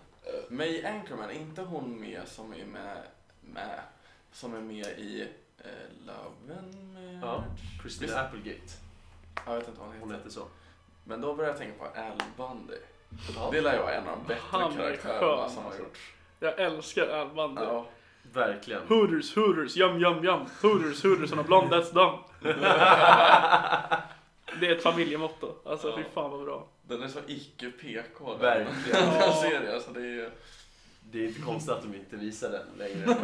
Speaker 1: May Anchorman, inte hon med som är med... med som är med i eh, Love and
Speaker 2: Ja,
Speaker 1: Marriage?
Speaker 2: Christina
Speaker 1: Visst.
Speaker 2: Applegate.
Speaker 1: Jag vet inte vad hon
Speaker 2: Hon
Speaker 1: heter.
Speaker 2: heter så.
Speaker 1: Men då började jag tänka på Al Bundy.
Speaker 2: Ja.
Speaker 1: Det lär jag vara en av de
Speaker 3: Han
Speaker 1: bättre
Speaker 3: är
Speaker 1: karaktärerna
Speaker 3: skön,
Speaker 1: som har
Speaker 3: alltså.
Speaker 1: gjorts.
Speaker 3: Jag älskar Al Bundy.
Speaker 1: Ja.
Speaker 2: Verkligen.
Speaker 3: Hooters, hooters, yum, yum, yum. Hooters, hooters and a blonde, that's dumb. Det är ett familjemotto. Alltså
Speaker 1: Ja.
Speaker 3: fy fan vad bra.
Speaker 1: Den är så icke PK den,
Speaker 2: Verkligen.
Speaker 1: den
Speaker 3: Ja.
Speaker 1: serien. Alltså det, är ju-
Speaker 2: Det är inte konstigt att de inte visar den längre.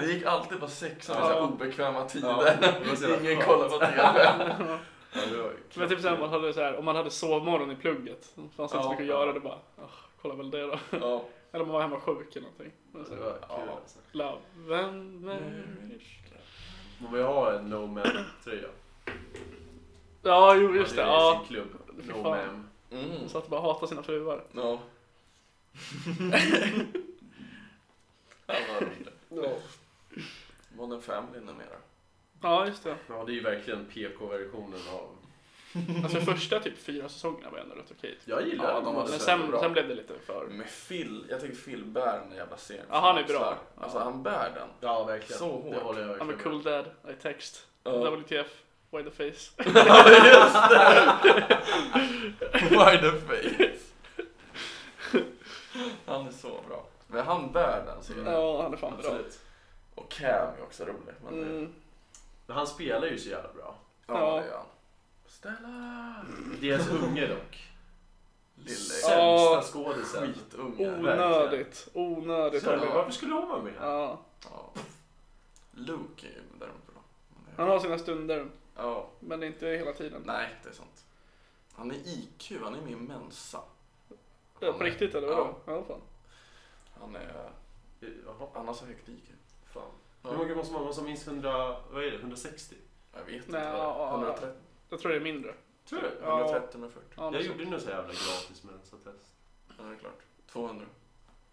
Speaker 1: det gick alltid på sexan med
Speaker 3: Ja.
Speaker 1: så här obekväma
Speaker 2: Ja,
Speaker 1: tider.
Speaker 2: det var så jävla
Speaker 1: Ingen
Speaker 2: skönt.
Speaker 1: kollar på TV.
Speaker 2: Ja, det var
Speaker 3: Men typ såhär, man hade så här, om man hade sovmorgon i plugget, det fanns inte så
Speaker 1: Ja.
Speaker 3: mycket att göra, det bara, "Ah, kolla väl det då.
Speaker 1: Ja.
Speaker 3: Eller man var hemma sjuk eller någonting. Men så
Speaker 2: Det
Speaker 3: här,
Speaker 2: var kul
Speaker 1: Ja.
Speaker 2: alltså.
Speaker 3: Love and marriage.
Speaker 2: Man vill ha en No Man-tröja.
Speaker 3: Ja, jo just det.
Speaker 2: är sin
Speaker 3: Ja.
Speaker 2: klubb.
Speaker 3: Fy
Speaker 2: No
Speaker 3: fan.
Speaker 2: Man.
Speaker 1: Mm.
Speaker 3: Så att bara hata sina fruar.
Speaker 1: Ja. Ja, vad roligt. Modern Family numera.
Speaker 3: Ja, just det.
Speaker 2: Ja, det är ju verkligen PK-versionen av...
Speaker 3: Alltså första typ fyra säsongerna var ändå rätt okej.
Speaker 2: Jag gillar
Speaker 1: Ja,
Speaker 2: den.
Speaker 1: de hade
Speaker 3: Men
Speaker 1: sett
Speaker 3: sen,
Speaker 1: bra.
Speaker 3: sen blev det lite för...
Speaker 1: Med Phil, jag tycker Phil bär den jävla serien.
Speaker 3: Ja, han är bra.
Speaker 1: Sådär. Alltså
Speaker 3: Ja.
Speaker 1: han bär den.
Speaker 2: Ja, verkligen.
Speaker 1: Så hårt.
Speaker 2: Det håller jag verkligen
Speaker 3: I'm a cool dad, I text,
Speaker 1: Ja.
Speaker 3: WTF, why the face.
Speaker 1: Why the face? Han är så bra. Men han bär den serien.
Speaker 3: Ja, han är fan bra.
Speaker 2: Absolut.
Speaker 1: Och Cam är också rolig. Men det,
Speaker 3: Mm.
Speaker 2: Men han spelar ju så jävla bra.
Speaker 1: Ja,
Speaker 3: Ja.
Speaker 1: det gör han. Stella!
Speaker 2: Deras unge dock.
Speaker 1: Lille
Speaker 2: Sämsta
Speaker 3: Ja.
Speaker 2: skådisen.
Speaker 1: skitunge.
Speaker 3: Onödigt, onödigt.
Speaker 2: Så,
Speaker 3: Ja.
Speaker 2: Varför skulle hon vara med?
Speaker 3: Ja.
Speaker 1: Ja. Luke är ju däremot bra. Men det-
Speaker 3: Han har sina stunder,
Speaker 1: Ja,
Speaker 3: men inte hela tiden.
Speaker 1: nej det är sant. Han är IQ, han är min Mensa.
Speaker 3: Ja, På riktigt eller vadå?
Speaker 1: Ja.
Speaker 3: Ja, fan.
Speaker 1: Han, är,
Speaker 2: Jaha,
Speaker 1: han har så högt IQ.
Speaker 2: fan. Hur
Speaker 1: Ja.
Speaker 2: många måste man vara som minns 100, vad är det, 160?
Speaker 1: Jag vet
Speaker 3: Nej,
Speaker 1: inte. vad det
Speaker 3: ja, ja, ja.
Speaker 1: är. 130,
Speaker 3: Jag tror det är mindre.
Speaker 2: Tror du?
Speaker 3: Ja.
Speaker 1: 130 med 40.
Speaker 3: Ja,
Speaker 2: Jag
Speaker 3: men så-
Speaker 2: gjorde nog så jävla gratis mensatest.
Speaker 1: Ja, det är klart. 200.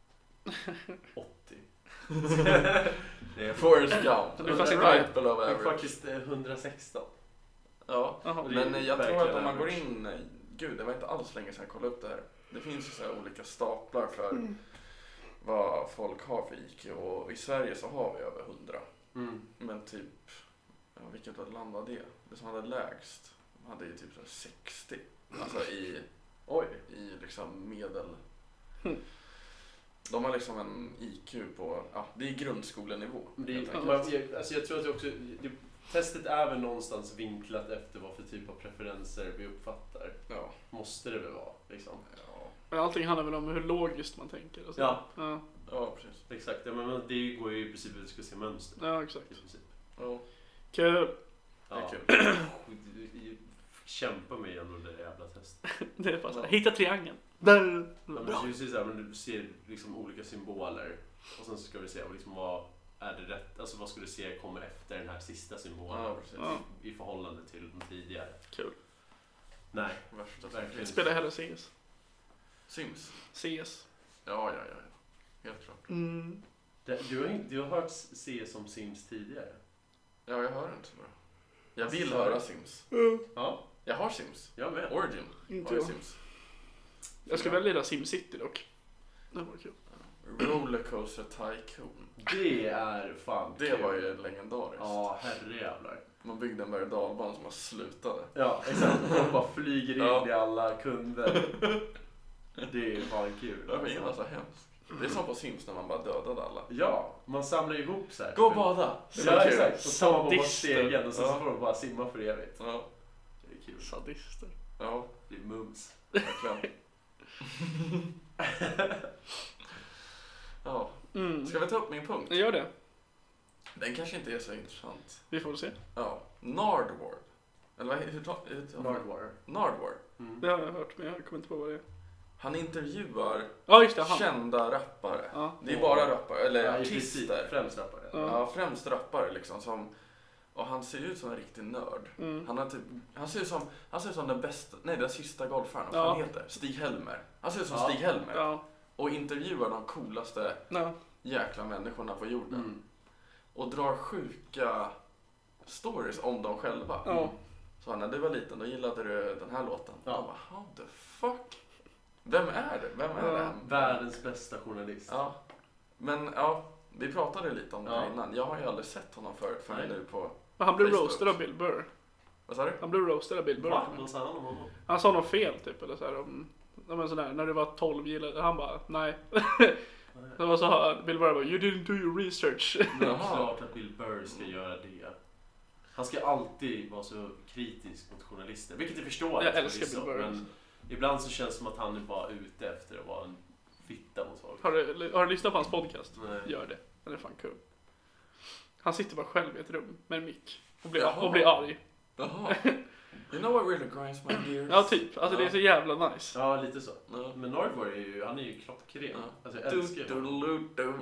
Speaker 2: 80. det är
Speaker 1: Forrest Gump.
Speaker 3: Du
Speaker 1: Det är
Speaker 3: fast inte-
Speaker 1: right below
Speaker 2: Det är
Speaker 1: average.
Speaker 2: faktiskt eh, 116.
Speaker 1: Ja.
Speaker 3: Jaha.
Speaker 2: Det är
Speaker 1: Men eh, jag tror att
Speaker 2: verkligen
Speaker 1: om man går
Speaker 2: average.
Speaker 1: in, gud det var inte alls länge sedan jag kollade upp det här. Det finns ju så här olika staplar för vad folk har för IQ och i Sverige så har vi över 100.
Speaker 2: Mm.
Speaker 1: Men typ, ja, vilket land var det? Det som hade lägst hade ju typ så här 60. Alltså i,
Speaker 2: Oj.
Speaker 1: i liksom medel.
Speaker 3: Mm.
Speaker 1: De har liksom en IQ på, ja det är grundskolenivå.
Speaker 2: Men Det,
Speaker 1: helt
Speaker 2: är-
Speaker 1: enkelt.
Speaker 2: man, jag, alltså jag tror att det också, det, testet är väl någonstans vinklat efter vad för typ av preferenser vi uppfattar.
Speaker 1: Ja.
Speaker 2: Måste det väl vara, liksom.
Speaker 1: Ja.
Speaker 3: Men allting handlar väl om hur logiskt man tänker. och så.
Speaker 2: Ja.
Speaker 3: Ja,
Speaker 1: ja, precis.
Speaker 2: Exakt, ja, men det går ju i princip ut att vi ska se mönster.
Speaker 3: ja
Speaker 2: I
Speaker 3: exakt.
Speaker 2: princip.
Speaker 1: Ja,
Speaker 3: Kul.
Speaker 1: det är kul.
Speaker 2: Skit- Kämpa mig igenom det där jävla testet.
Speaker 3: Det är bara så här,
Speaker 1: Ja.
Speaker 3: hitta triangeln. Där.
Speaker 2: Ja, men det är ju så här, men du ser liksom olika symboler och sen så ska vi se och liksom, vad är det rätt, alltså vad ska du se kommer efter den här sista symbolen
Speaker 1: Ja, precis.
Speaker 3: Ja.
Speaker 2: i förhållande till den tidigare.
Speaker 3: Kul.
Speaker 2: Nej,
Speaker 1: Värsta som
Speaker 2: Verkligen.
Speaker 1: finns.
Speaker 3: Spela hellre CS.
Speaker 1: Sims.
Speaker 3: CS.
Speaker 1: Ja, ja, ja. ja. Helt klart.
Speaker 3: Mm.
Speaker 2: det, du, har, inte- du har hört C som Sims tidigare?
Speaker 1: Ja, jag hör inte så bra. Jag vill
Speaker 2: Alltså,
Speaker 1: höra Sims.
Speaker 3: Mm.
Speaker 2: Ja,
Speaker 1: Jag har Sims.
Speaker 2: jag med.
Speaker 1: Origin
Speaker 3: Inte
Speaker 1: har ju
Speaker 3: jag.
Speaker 1: Sims.
Speaker 3: Jag skulle väl lira SimCity dock. Det var kul.
Speaker 1: Rollercoaster Tycoon.
Speaker 2: Det är fan
Speaker 1: Det
Speaker 2: kul.
Speaker 1: var ju legendariskt.
Speaker 2: Ja, herrejävlar.
Speaker 1: Man byggde en berg och dalbana som man slutade.
Speaker 2: Ja, exakt. Folk bara flyger in
Speaker 1: Ja.
Speaker 2: i alla kunder. Det är ju fan kul.
Speaker 1: Jag menar
Speaker 2: Alltså.
Speaker 1: så hemskt. Det är som på Sims när man bara dödade alla.
Speaker 2: Ja, man samlar ihop så här.
Speaker 1: Gå och bada! Det var
Speaker 2: Ja,
Speaker 1: kul.
Speaker 2: exakt. Så tar man bara bort
Speaker 3: Sadister.
Speaker 2: stegen och sen så
Speaker 1: Ja.
Speaker 2: får de bara simma för evigt.
Speaker 1: Ja,
Speaker 2: Det är kul.
Speaker 3: Sadister.
Speaker 1: ja,
Speaker 2: Det är mums.
Speaker 1: verkligen. Ja,
Speaker 3: Mm.
Speaker 1: ska vi ta upp min punkt?
Speaker 3: Gör det.
Speaker 1: Den kanske inte är så intressant.
Speaker 3: Vi får väl se.
Speaker 1: Ja, Nardward. Eller vad- hur ta- hur ta-
Speaker 2: Nardwater.
Speaker 1: Nardward.
Speaker 2: Mm.
Speaker 3: Det har jag hört men jag kommer inte på vad det är.
Speaker 1: Han intervjuar
Speaker 3: Ja just det, han.
Speaker 1: kända rappare.
Speaker 3: Ja.
Speaker 1: Det är bara rappare, eller
Speaker 2: Ja, i princip.
Speaker 1: artister.
Speaker 2: Främst rappare.
Speaker 3: Ja.
Speaker 1: Ja, främst rappare liksom. Som, och han ser ut som en riktig nörd.
Speaker 3: Mm.
Speaker 1: Han, har typ, han, ser ut som, han ser ut som den bästa, nej den sista golfaren, vad
Speaker 3: Ja.
Speaker 1: fan heter Stig Helmer. Han ser ut som
Speaker 2: Ja.
Speaker 1: Stig Helmer.
Speaker 3: Ja.
Speaker 1: Och intervjuar de coolaste
Speaker 3: Ja.
Speaker 1: jäkla människorna på jorden.
Speaker 2: Mm.
Speaker 1: Och drar sjuka stories om dem själva.
Speaker 3: ja.
Speaker 1: Så när du var liten, då gillade du den här låten.
Speaker 2: Ja.
Speaker 1: Jag bara, how the fuck? Vem är det? Vem är
Speaker 3: Ja.
Speaker 1: det?
Speaker 2: Mm. Världens bästa journalist.
Speaker 1: Ja. Men ja, vi pratade lite om det
Speaker 2: Ja.
Speaker 1: innan. Jag har ju aldrig sett honom förut förrän
Speaker 2: Nej.
Speaker 1: nu på...
Speaker 3: Men han blev
Speaker 1: Facebook.
Speaker 3: roastad av Bill Burr.
Speaker 1: Vad sa du?
Speaker 3: Han blev roastad av Bill Burr.
Speaker 2: Va? Vad sa han om honom?
Speaker 3: Han sa något fel typ eller så här om ja, men sådär, när du var 12 gillade han bara nej. Det var så här, Bill Burr bara you didn't do your research.
Speaker 2: Det är
Speaker 1: Jaha. Mm.
Speaker 2: klart att Bill Burr ska göra det. Han ska alltid vara så kritisk mot journalister, vilket jag förstår.
Speaker 3: Jag älskar
Speaker 2: förvisso,
Speaker 3: Bill Burr.
Speaker 2: Men ibland så känns det som att han är bara ute efter att vara en fitta mot folk.
Speaker 3: Har du, har du lyssnat på hans podcast?
Speaker 2: Nej.
Speaker 3: Gör det. Den är fan kul. Han sitter bara själv i ett rum med en mick och blir,
Speaker 1: Jaha.
Speaker 3: och blir arg.
Speaker 1: Jaha. You know what really grinds my gears?
Speaker 3: Ja typ, alltså det är så jävla nice.
Speaker 2: Ja, lite så.
Speaker 1: Ja.
Speaker 2: Men Norrborg är ju, han är ju klockren.
Speaker 1: Ja.
Speaker 2: Alltså jag
Speaker 1: Du,
Speaker 2: älskar ju
Speaker 1: du,
Speaker 2: honom.
Speaker 1: du,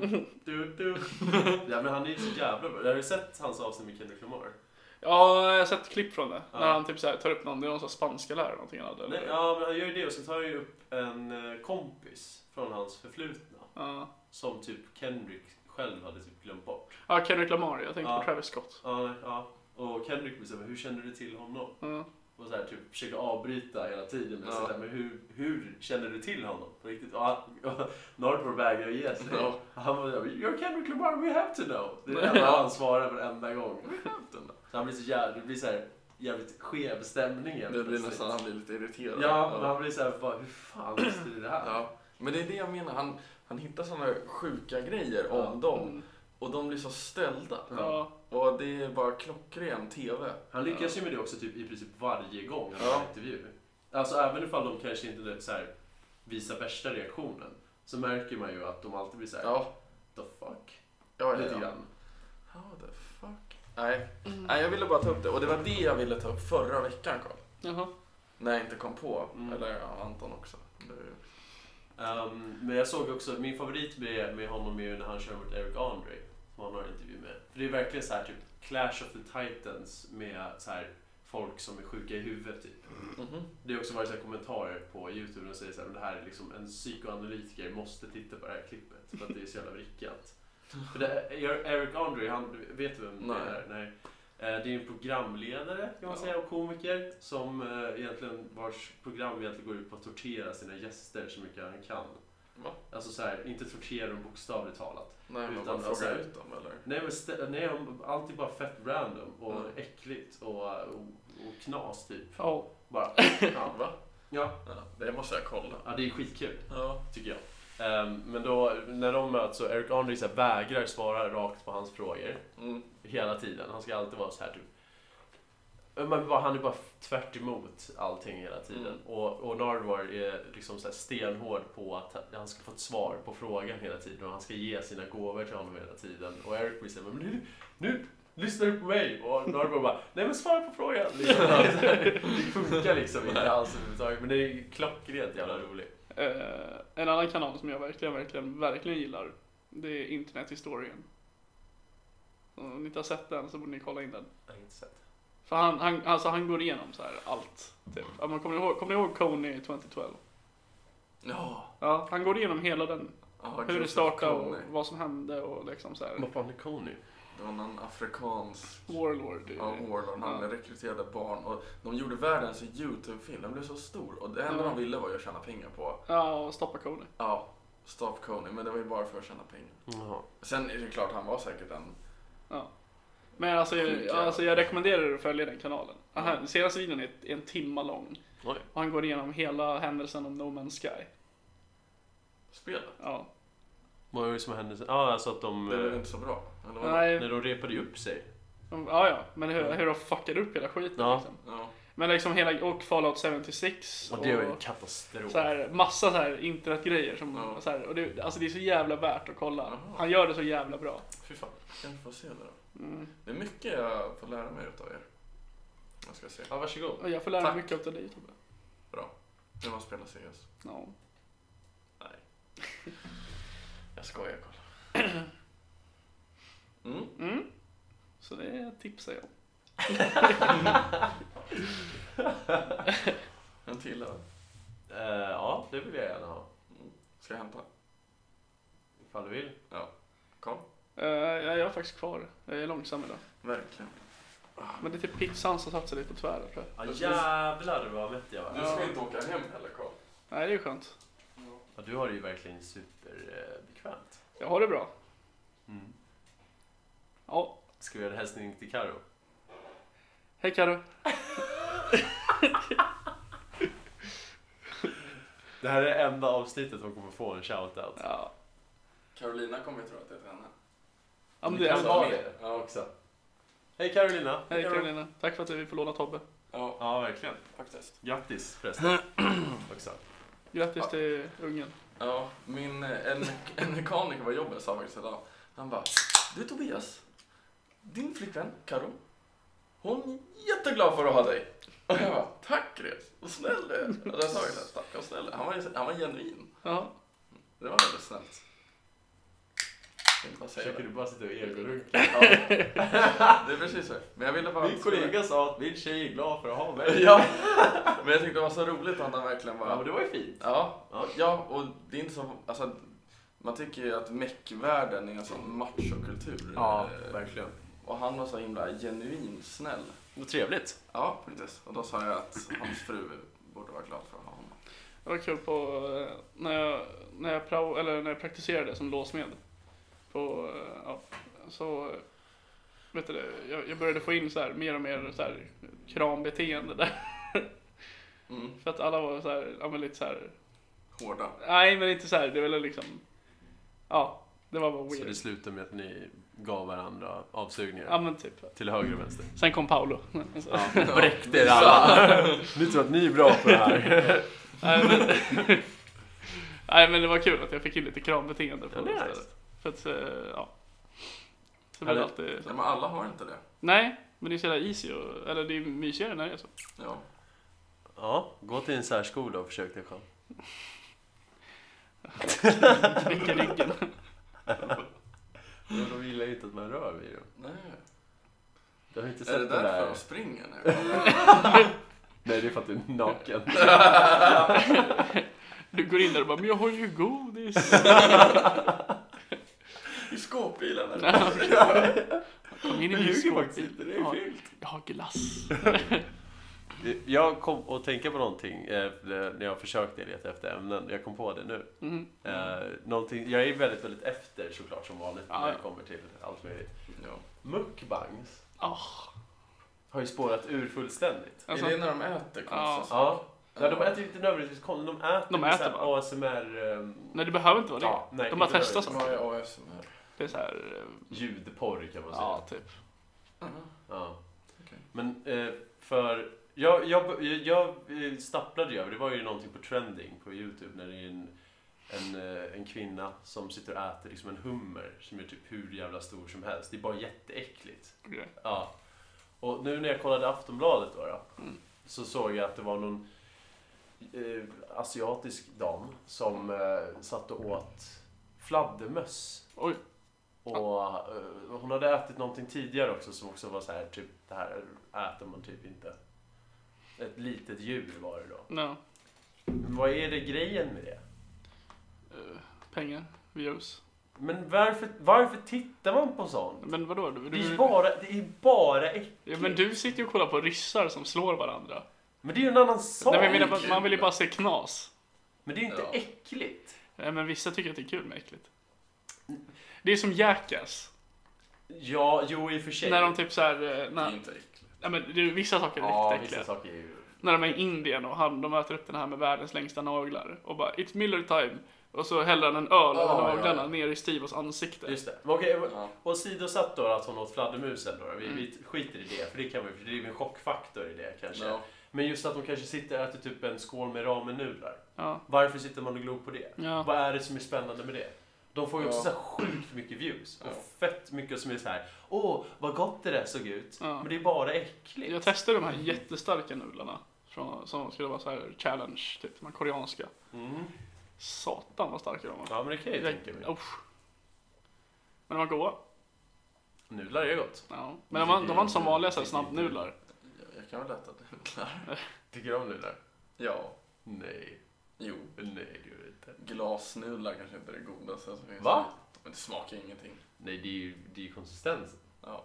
Speaker 1: du.
Speaker 2: Du, du. Ja, men han är ju så jävla bra. Har du sett hans avsnitt med Kendrick Lamar?
Speaker 3: Ja, jag har sett klipp från det.
Speaker 2: Ja.
Speaker 3: När han typ så här, tar upp någon, det är någon sån här spanska lärare eller någonting han hade.
Speaker 2: Nej,
Speaker 3: Eller?
Speaker 2: ja, men han gör ju det och sen tar han ju upp en eh, kompis från hans förflutna.
Speaker 3: Ja.
Speaker 2: Som typ Kendrick själv hade typ glömt bort.
Speaker 3: Ja, Kendrick Lamar, jag tänkte
Speaker 2: Ja.
Speaker 3: på Travis Scott.
Speaker 2: Ja, ja. Och Kendrick blev såhär, hur kände du till honom?
Speaker 3: Ja.
Speaker 2: Och så här, typ försökte avbryta hela tiden. Men,
Speaker 1: Ja.
Speaker 2: så här, men hur, hur kände du till honom? På riktigt? Och han- och Nardwar vägrade ge sig.
Speaker 1: Ja.
Speaker 2: Han var såhär, you're Kendrick Lamar, we have to know. Det är det
Speaker 1: Ja.
Speaker 2: enda han svarar varenda gång.
Speaker 1: Den där.
Speaker 2: Så han blir så jävla, det blir så här, jävligt skev stämning helt
Speaker 1: Det blir
Speaker 2: plötsligt.
Speaker 1: nästan, han blir lite irriterad.
Speaker 2: Ja, men han blir såhär, bara, hur fan visste du det här?
Speaker 1: Ja. Men det är det jag menar, han, han hittar sådana sjuka grejer
Speaker 2: Ja.
Speaker 1: om dem.
Speaker 3: Mm.
Speaker 1: Och de blir så ställda.
Speaker 3: Ja.
Speaker 1: Och det är bara klockren TV.
Speaker 2: Han lyckas ju med det också typ, i princip varje gång han
Speaker 1: Ja.
Speaker 2: har en intervju. Alltså även ifall de kanske inte du, så här, visar värsta reaktionen så märker man ju att de alltid blir så här,
Speaker 1: Ja,
Speaker 2: the fuck.
Speaker 1: ja, ja,
Speaker 2: Lite
Speaker 1: ja.
Speaker 2: grann.
Speaker 1: How the fuck?
Speaker 3: Mm.
Speaker 1: Nej. Nej, jag ville bara ta upp det. Och det var det jag ville ta upp förra veckan, Carl.
Speaker 3: Jaha.
Speaker 1: När jag inte kom på.
Speaker 2: Mm.
Speaker 1: Eller ja, Anton också. Du...
Speaker 2: Ehm, men jag såg också, min favorit med, med honom är ju när han kör mot Eric Andre som han har en intervju med. För det är verkligen så här typ Clash of the Titans med så här folk som är sjuka i huvudet typ.
Speaker 1: Mhm.
Speaker 2: Det har också varit så här kommentarer på Youtube och säger så här, "Men det här är liksom en psykoanalytiker måste titta på det här klippet för att det är så jävla vrickat. För det, Eric Andre, han, vet du vem
Speaker 1: Nej.
Speaker 2: det är? Nej. Eh, Det är en programledare kan man
Speaker 1: Ja.
Speaker 2: säga och komiker som eh, egentligen vars program egentligen går ut på att tortera sina gäster så mycket han kan.
Speaker 1: Va?
Speaker 2: Alltså så här, inte tortera dem bokstavligt talat.
Speaker 1: Nej, man
Speaker 2: Utan
Speaker 1: bara
Speaker 2: alltså-
Speaker 1: frågar ut dem, eller?
Speaker 2: Nej men stä- nej, om- allt är bara fett random och
Speaker 1: Mm.
Speaker 2: äckligt och, och, och knas typ.
Speaker 3: Ja.
Speaker 2: Bara. Ja.
Speaker 1: Va?
Speaker 2: ja.
Speaker 1: Ja, det måste jag kolla.
Speaker 2: ja, det är skitkul.
Speaker 1: Ja.
Speaker 2: tycker jag. Ehm, men då, när de möts så Eric Andre så här vägrar svara rakt på hans frågor
Speaker 1: Mm.
Speaker 2: hela tiden. Han ska alltid vara så här typ. Men bara, han är bara tvärt emot allting hela tiden.
Speaker 1: Mm.
Speaker 2: Och, och Nardwar är liksom så här stenhård på att han- han ska få ett svar på frågan hela tiden och han ska ge sina gåvor till honom hela tiden. Och Eric blir så här, men nu, nu lyssnar du på mig! Och Nardwar bara, nej men svara på frågan! Liksom, det funkar liksom inte alls överhuvudtaget. Men det är klockrent jävla roligt.
Speaker 3: Eh, en annan kanal som jag verkligen, verkligen, verkligen gillar. Det är internethistorien. Om ni inte har sett den så borde ni kolla in den.
Speaker 2: Jag har inte sett.
Speaker 3: För han, han, alltså han går igenom så här allt. Typ. Ja, men kommer, ni ihåg, kommer ni ihåg Kony 2012?
Speaker 1: Ja.
Speaker 3: Ja, han går igenom hela den.
Speaker 1: Ja,
Speaker 3: Hur det
Speaker 1: Joseph
Speaker 3: startade och
Speaker 1: Kony.
Speaker 3: vad som hände och liksom så här.
Speaker 2: Vad fan är Conny?
Speaker 1: Det var någon afrikansk
Speaker 3: Warlord.
Speaker 1: Ja, Warlord. Han
Speaker 3: Mm. Ja.
Speaker 1: rekryterade barn och de gjorde världens YouTube-film. Den blev så stor och det enda
Speaker 3: Ja.
Speaker 1: de ville var ju att tjäna pengar på.
Speaker 3: Ja, och stoppa Kony.
Speaker 1: Ja, Stop Coney, men det var ju bara för att tjäna pengar.
Speaker 2: Jaha.
Speaker 1: Sen är det klart, han var säkert en
Speaker 3: Ja. Men alltså jag,
Speaker 1: Sjuka.
Speaker 3: alltså jag rekommenderar er att följa den kanalen. Aha, Den senaste videon är är en timma lång.
Speaker 2: Oj.
Speaker 3: Och han går igenom hela händelsen om No Man's Sky.
Speaker 1: Spelet?
Speaker 3: Ja.
Speaker 2: Vad var det som hände sen? Ja, alltså att de...
Speaker 1: Det blev
Speaker 2: eh,
Speaker 1: inte så bra. Eller vad?
Speaker 3: Nej, Mm,
Speaker 2: När de repade ju upp sig.
Speaker 3: ja, ja. Men hur, hur de fuckade upp hela skiten
Speaker 2: Ja.
Speaker 3: liksom.
Speaker 1: Ja.
Speaker 3: Men liksom hela, och Fallout 76
Speaker 2: Och det var ju
Speaker 3: och
Speaker 2: katastrof.
Speaker 3: så här, massa så här internetgrejer som,
Speaker 1: Ja.
Speaker 3: så här, och det, alltså det är så jävla värt att kolla.
Speaker 1: Jaha.
Speaker 3: Han gör det så jävla bra.
Speaker 1: Fy fan. Kanske får se det då.
Speaker 3: Mm.
Speaker 1: Det är mycket jag får lära mig utav er. Jag ska se.
Speaker 2: Ja, varsågod.
Speaker 3: Och jag får lära mig
Speaker 1: Tack.
Speaker 3: mycket av dig Tobbe.
Speaker 1: När man spelar CS.
Speaker 3: Ja.
Speaker 1: Jag skojar, kolla. Mm.
Speaker 3: Mm. Så det tipsar jag om.
Speaker 1: En till öl.
Speaker 2: Eh, ja, det vill jag gärna ha.
Speaker 1: Mm. Ska jag hämta?
Speaker 2: Ifall du vill.
Speaker 1: Karl?
Speaker 3: Eh, jag jag är faktiskt kvar. Jag är långsam idag.
Speaker 1: Verkligen. Ah.
Speaker 3: Men det är typ pizzan som satt sig lite på tvären tror jag.
Speaker 2: Ja, jävlar vad mätt jag var.
Speaker 1: Du ska inte åka hem heller, Karl.
Speaker 3: Nej, det är skönt.
Speaker 2: Ja, du har det ju verkligen superbekvämt.
Speaker 3: Jag har det bra.
Speaker 2: Mm.
Speaker 3: Ja.
Speaker 2: Ska vi göra en hälsning till Karo?
Speaker 3: Hej Karo.
Speaker 2: Det här är det enda avsnittet hon kommer få en shoutout.
Speaker 3: Ja.
Speaker 1: Carolina kommer ju tro att det är till henne.
Speaker 3: Ja, men
Speaker 2: Vi
Speaker 3: det
Speaker 2: kan
Speaker 3: är
Speaker 2: ta
Speaker 3: bra.
Speaker 2: det ja, också. Hej Carolina!
Speaker 3: Hej Karolina. Tack för att vi får låna Tobbe.
Speaker 1: Ja,
Speaker 2: Ja, verkligen.
Speaker 1: faktiskt.
Speaker 2: Grattis förresten. också.
Speaker 3: Grattis
Speaker 1: Ja.
Speaker 3: till ungen.
Speaker 1: Ja, min, eh, en, en mekaniker på jobbet sa faktiskt idag. Han bara, du Tobias, din flickvän Karo, hon är jätteglad för att ha dig. Och jag bara, tack Gres, vad snäll du är. Och jag sa ju det, tack vad snäll du är." han var, han var genuin.
Speaker 3: Ja.
Speaker 1: Det var väldigt snällt. Jag vill bara säga
Speaker 2: Försöker
Speaker 1: det.
Speaker 2: du bara sitta och egorunka?
Speaker 1: Ja, det är precis så. Men jag ville bara...
Speaker 2: Min kollega sa att min tjej är glad för att ha mig.
Speaker 1: Ja, men jag tyckte det var så roligt att han verkligen
Speaker 2: Ja, men
Speaker 1: var...
Speaker 2: det var ju fint.
Speaker 1: Ja,
Speaker 2: Ja.
Speaker 1: ja och det är inte så... Alltså, man tycker ju att meckvärlden är en sån machokultur. Eh,
Speaker 2: verkligen.
Speaker 1: Och han var så himla genuin snäll.
Speaker 2: Vad trevligt.
Speaker 1: Ja, precis. Och då sa jag att hans fru borde vara glad för att ha honom.
Speaker 3: Det var kul på eh, när jag, när jag, prao, eller när jag praktiserade som låsmed. På, eh, ja, så, eh, vet du, det, jag, jag började få in så här, mer och mer så här, krambeteende där.
Speaker 1: Mm.
Speaker 3: För att alla var så här, ja, men lite så här,
Speaker 1: Hårda.
Speaker 3: nej men inte så här, det var väl liksom, ja, det var bara
Speaker 2: Så det
Speaker 3: weird.
Speaker 2: slutade med att ni gav varandra avsugningar
Speaker 3: Ja men typ.
Speaker 2: till höger och vänster.
Speaker 3: Sen kom Paolo. Alltså,
Speaker 2: Ja, bräckte er alla. Ni tror att ni är bra på det här.
Speaker 3: nej, men, nej men det var kul att jag fick in lite krambeteende.
Speaker 2: Ja,
Speaker 3: På
Speaker 2: det är
Speaker 3: det
Speaker 2: nice.
Speaker 3: för att, eh, ja. Så blir det
Speaker 2: Ja,
Speaker 3: alltid
Speaker 1: Nej, men alla har inte det.
Speaker 3: Nej, men det är så jävla easy och, eller det är mysigare när det alltså. är så.
Speaker 1: Ja.
Speaker 2: Ja, gå till en särskola och försök dig själv.
Speaker 3: Knäcker ryggen.
Speaker 2: Men de gillar ju inte att man rör vid dem.
Speaker 1: Nej.
Speaker 2: Du har inte
Speaker 1: Är det
Speaker 2: sett det
Speaker 1: därför
Speaker 2: där?
Speaker 1: de springer nu?
Speaker 2: Nej, det är för att du är naken.
Speaker 3: Du går in där och bara, men jag har ju godis.
Speaker 1: I skåpbilen? eller?
Speaker 3: Kom in i
Speaker 2: Du
Speaker 3: min
Speaker 2: ljuger
Speaker 3: skål.
Speaker 2: faktiskt inte, det är
Speaker 3: Ja,
Speaker 2: fult.
Speaker 3: Jag har glass.
Speaker 2: Jag kom att tänka på någonting eh, när jag försökte leta efter ämnen. Jag kom på det nu.
Speaker 3: Mm.
Speaker 2: Eh, någonting, jag är väldigt, väldigt efter såklart som vanligt
Speaker 3: Ja,
Speaker 2: när
Speaker 3: ja.
Speaker 2: det kommer till allt möjligt.
Speaker 1: Ja.
Speaker 2: Mukbangs
Speaker 3: Ah,
Speaker 2: har ju spårat ur fullständigt.
Speaker 1: Är
Speaker 3: alltså,
Speaker 1: det när de äter
Speaker 3: Ja.
Speaker 1: konstigt?
Speaker 2: Ja, ja de äter ju inte nödvändigtvis konstigt, de äter,
Speaker 3: De
Speaker 2: med
Speaker 3: äter
Speaker 2: så här
Speaker 3: bara.
Speaker 2: ASMR... ehm,
Speaker 3: nej, det behöver inte vara det.
Speaker 2: ja, nej,
Speaker 3: de bara
Speaker 2: inte
Speaker 3: testar
Speaker 2: nödvändigtvis.
Speaker 1: Vad är ASMR?
Speaker 3: Det är så här, eh,
Speaker 2: Ljudporr kan man säga.
Speaker 3: ja typ.
Speaker 1: Aha.
Speaker 2: Ja.
Speaker 1: Okej.
Speaker 2: Men eh, för... Jag, jag, jag eh, stapplade ju över, det var ju någonting på trending på YouTube när det är en, en, eh, en kvinna som sitter och äter liksom en hummer som är typ hur jävla stor som helst. Det är bara jätteäckligt.
Speaker 3: Okej.
Speaker 2: Ja. Och nu när jag kollade Aftonbladet då, då
Speaker 3: Mm.
Speaker 2: så såg jag att det var någon eh, asiatisk dam som eh, satt och åt fladdermöss.
Speaker 3: Oj.
Speaker 2: Och eh, hon hade ätit någonting tidigare också som också var så här typ det här äter man typ inte. Ett litet djur var det då.
Speaker 3: No.
Speaker 2: Men vad är det grejen med det?
Speaker 3: Eh, pengar, views.
Speaker 2: Men varför, varför tittar man på sånt?
Speaker 3: Men vadå? Du,
Speaker 2: Det är
Speaker 3: du,
Speaker 2: bara, det är bara äckligt.
Speaker 3: ja, men du sitter ju och kollar på ryssar som slår varandra.
Speaker 2: Men det är ju en annan sak.
Speaker 3: Nej, men jag menar, bara- man vill ju bara se knas. Eh,
Speaker 2: Men det är ju inte
Speaker 1: Ja.
Speaker 2: äckligt.
Speaker 3: Nej, men vissa tycker att det är kul med äckligt. Det är som Jackass.
Speaker 2: Ja, jo i och för sig.
Speaker 3: När de typ såhär,
Speaker 1: Det är
Speaker 3: nej,
Speaker 1: inte äckligt.
Speaker 3: nej men det är vissa saker är
Speaker 2: Mm. ja,
Speaker 3: riktigt
Speaker 2: vissa
Speaker 3: äckliga.
Speaker 2: saker är ju...
Speaker 3: När de är i Indien och han, de äter upp den här med världens längsta naglar och bara It's Miller time och så häller han en öl över
Speaker 1: Ja, ja,
Speaker 3: naglarna
Speaker 1: ja.
Speaker 3: ner i Stivos ansikte.
Speaker 2: Just det. Men Okej,
Speaker 1: Ja.
Speaker 2: och sidosatt då att hon åt fladdermusen då. Vi,
Speaker 3: Mm.
Speaker 2: vi skiter i det, för det kan vi, för det är ju en chockfaktor i det kanske.
Speaker 1: Ja.
Speaker 2: Men just att de kanske sitter och äter typ en skål med ramenudlar.
Speaker 3: Ja.
Speaker 2: Varför sitter man och glor på det?
Speaker 3: Ja.
Speaker 2: Vad är det som är spännande med det? De får ju också
Speaker 1: Ja.
Speaker 2: så här sjukt mycket views. Och
Speaker 1: Ja.
Speaker 2: fett mycket som är så här. åh vad gott det där såg ut.
Speaker 3: Ja.
Speaker 2: Men det är bara äckligt.
Speaker 3: Jag testade de här jättestarka nudlarna från, som skulle vara så här challenge, typ de här koreanska.
Speaker 2: Mm.
Speaker 3: Satan vad starka de var.
Speaker 2: Ja men det kan jag ju tänka mig.
Speaker 3: Usch. Men de var goda.
Speaker 2: Nudlar är gott.
Speaker 3: Ja. Men de var, de var inte som vanliga så här snabbnudlar.
Speaker 1: Jag- Jag kan väl äta nudlar.
Speaker 4: Tycker du om nudlar?
Speaker 1: Ja.
Speaker 4: Nej.
Speaker 1: Jo.
Speaker 4: Nej, det gör det inte.
Speaker 1: Glasnudlar kanske inte är det godaste som finns.
Speaker 2: Va?
Speaker 1: Men det smakar ingenting.
Speaker 4: Nej, det är ju, det är ju konsistensen.
Speaker 1: Ja.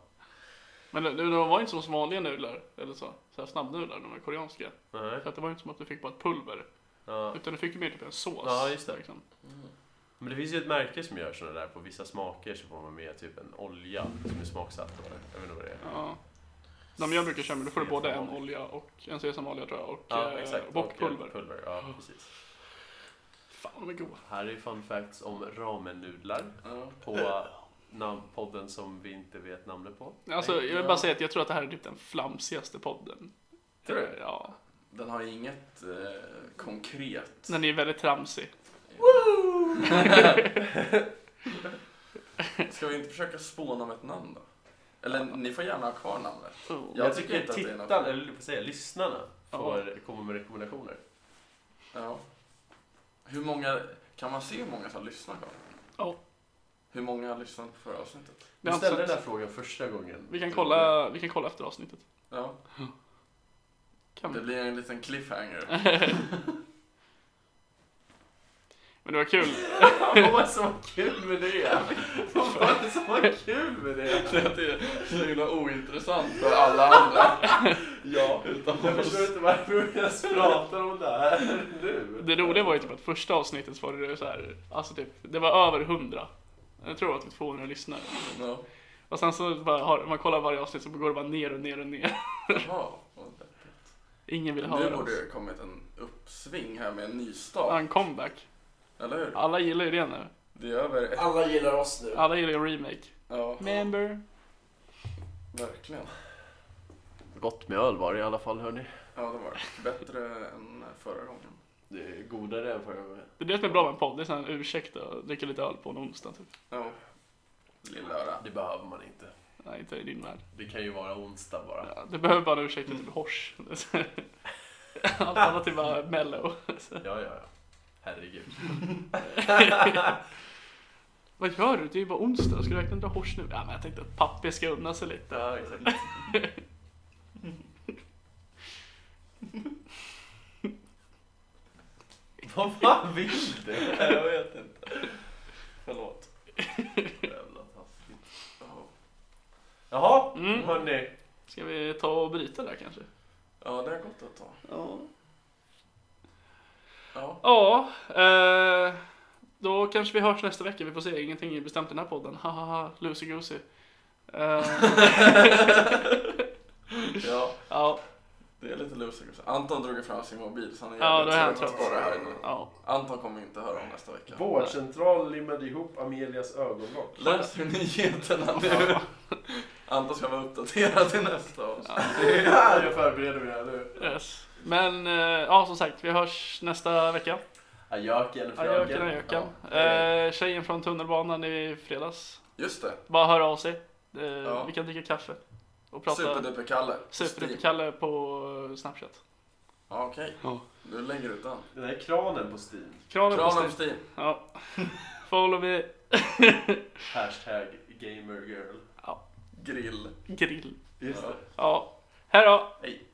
Speaker 3: Men de, de var inte som vanliga nudlar, eller så. Så här snabbnudlar, de här koreanska.
Speaker 2: Nej.
Speaker 3: För att det var ju inte som att du fick bara ett pulver.
Speaker 2: Ja.
Speaker 3: Utan du fick ju mer typ en sås.
Speaker 2: Ja, just det.
Speaker 3: Liksom.
Speaker 1: Mm.
Speaker 2: Men det finns ju ett märke som gör sådana där. På vissa smaker så får man med typ en olja som är smaksatt. eller- Jag vet inte vad det är.
Speaker 3: Ja. De jag brukar köra med, då får du både en
Speaker 2: Sesamolja.
Speaker 3: olja och en sesamolja tror jag. Och,
Speaker 2: Ja,
Speaker 3: eh,
Speaker 2: exakt.
Speaker 3: och pulver.
Speaker 2: Och pulver. Ja, precis.
Speaker 3: Fan, de är goda.
Speaker 2: Här är fun facts om ramen-nudlar
Speaker 1: Ja.
Speaker 2: på namn- podden som vi inte vet namnet på.
Speaker 3: Alltså,
Speaker 1: Nej,
Speaker 3: jag vill
Speaker 1: ja.
Speaker 3: bara säga att jag tror att det här är typ den flamsigaste podden. Eh,
Speaker 2: Tror du?
Speaker 3: Ja.
Speaker 1: Den har inget eh, konkret.
Speaker 3: Den är väldigt tramsig.
Speaker 1: Ska vi inte försöka spåna om ett namn då? Eller ni får gärna ha kvar namnet.
Speaker 3: Oh.
Speaker 1: Ja.
Speaker 2: Jag,
Speaker 1: Jag
Speaker 2: tycker,
Speaker 1: tycker inte att det är
Speaker 2: tittarna,
Speaker 1: något-
Speaker 2: eller vad säger jag, lyssnarna,
Speaker 3: Ja.
Speaker 2: får komma med rekommendationer.
Speaker 1: Ja. Hur många, kan man se hur många som lyssnar kvar?
Speaker 3: Ja.
Speaker 1: Hur många har lyssnat på förra avsnittet?
Speaker 3: Det
Speaker 2: Du
Speaker 3: har inte
Speaker 2: ställde den
Speaker 3: sett.
Speaker 2: där frågan första gången.
Speaker 3: Vi kan kolla, vi kan kolla efter avsnittet.
Speaker 1: Ja,
Speaker 3: Kan
Speaker 1: det
Speaker 3: vi?
Speaker 1: blir en liten cliffhanger.
Speaker 3: Men det var kul.
Speaker 2: Vad var det som var kul med det? Vad var det som var kul med det?
Speaker 1: Det är så himla ointressant för alla andra.
Speaker 2: Ja, jag förstår inte varför vi ens pratar om det här nu.
Speaker 3: Det roliga var ju typ att första avsnittet så var det så här, alltså typ, det var över 100. Jag tror att det var typ 200 lyssnare.
Speaker 1: Ja.
Speaker 3: Och sen så bara, har, man kollar varje avsnitt så går det bara ner och ner och ner.
Speaker 1: Jaha, vad deppigt.
Speaker 3: Ingen vill
Speaker 1: Nu
Speaker 3: höra
Speaker 1: borde
Speaker 3: oss.
Speaker 1: det kommit en uppsving här med en ny
Speaker 3: Ja,
Speaker 1: start.
Speaker 3: en comeback.
Speaker 1: Eller hur?
Speaker 3: Alla gillar ju det nu.
Speaker 1: Det är över ett...
Speaker 4: Alla gillar oss nu.
Speaker 3: Alla gillar ju en remake.
Speaker 1: Ja,
Speaker 3: Member.
Speaker 1: verkligen.
Speaker 4: Gott med öl var det i alla fall, hörni.
Speaker 1: Ja, det var det. Bättre än förra gången.
Speaker 4: Det är godare än förra gången.
Speaker 3: Det är det som är bra med en podd, det är sån här ursäkt att dricka lite öl på en onsdag typ.
Speaker 1: Ja. Lilla öra.
Speaker 2: Det behöver man inte.
Speaker 3: Nej, inte i din värld.
Speaker 2: Det kan ju vara onsdag bara.
Speaker 3: Ja, det behöver bara en ursäkt
Speaker 1: Mm.
Speaker 3: till typ hors. Allt annat är bara mellow.
Speaker 2: Ja, ja, ja. Herregud.
Speaker 3: Vad gör du? Det är ju bara onsdag, ska du verkligen dra hors nu? Ja, men jag tänkte att pappi ska unna sig lite.
Speaker 2: Ja, exakt. Vad fan vill du? Jag vet inte. Förlåt. Jävla taskigt.
Speaker 1: Ja.
Speaker 2: Jaha,
Speaker 3: Mm.
Speaker 2: hörni.
Speaker 3: Ska vi ta och bryta där kanske?
Speaker 1: Ja, det har gått ett tag.
Speaker 3: Ja.
Speaker 1: Ja.
Speaker 3: Ja, eh, då kanske vi hörs nästa vecka. Vi får se, ingenting är bestämt i den här podden. Hahaha, loosey goosey. Eh,
Speaker 1: ja,
Speaker 3: ja,
Speaker 1: det är lite lusigt. Anton drog fram sin mobil så han är
Speaker 3: Ja,
Speaker 1: jävligt
Speaker 3: då är han
Speaker 1: på det här nu.
Speaker 3: ja.
Speaker 1: Anton kommer inte höra om nästa vecka.
Speaker 4: Vårdcentral limmade ihop Amelias ögonlock.
Speaker 1: Läs hur nyheterna nu. Anton ska vara uppdaterad till nästa år.
Speaker 4: Det är här jag förbereder mig här nu.
Speaker 3: Yes. Men eh, ja, som sagt, vi hörs nästa vecka.
Speaker 2: Ajöken,
Speaker 3: Ajöken,
Speaker 2: fröken.
Speaker 3: ajöken.
Speaker 1: Ja.
Speaker 3: Eh, tjejen från tunnelbanan i fredags.
Speaker 1: Just det.
Speaker 3: Bara höra av sig. Eh,
Speaker 1: Ja.
Speaker 3: Vi kan dricka kaffe. Och prata
Speaker 1: Superduper-Kalle.
Speaker 3: superduper-Kalle på eh, Snapchat.
Speaker 1: Ja, Okej,
Speaker 3: Ja.
Speaker 1: nu lägger du ut den.
Speaker 2: Den här kranen på Steam.
Speaker 3: Kranen på Steam.
Speaker 1: Kranen på Steam.
Speaker 3: Ja. Follow me.
Speaker 2: Hashtag gamergirl.
Speaker 1: Grill.
Speaker 3: Grill.
Speaker 2: Just det.
Speaker 3: Ja. Hej då.
Speaker 1: Hej.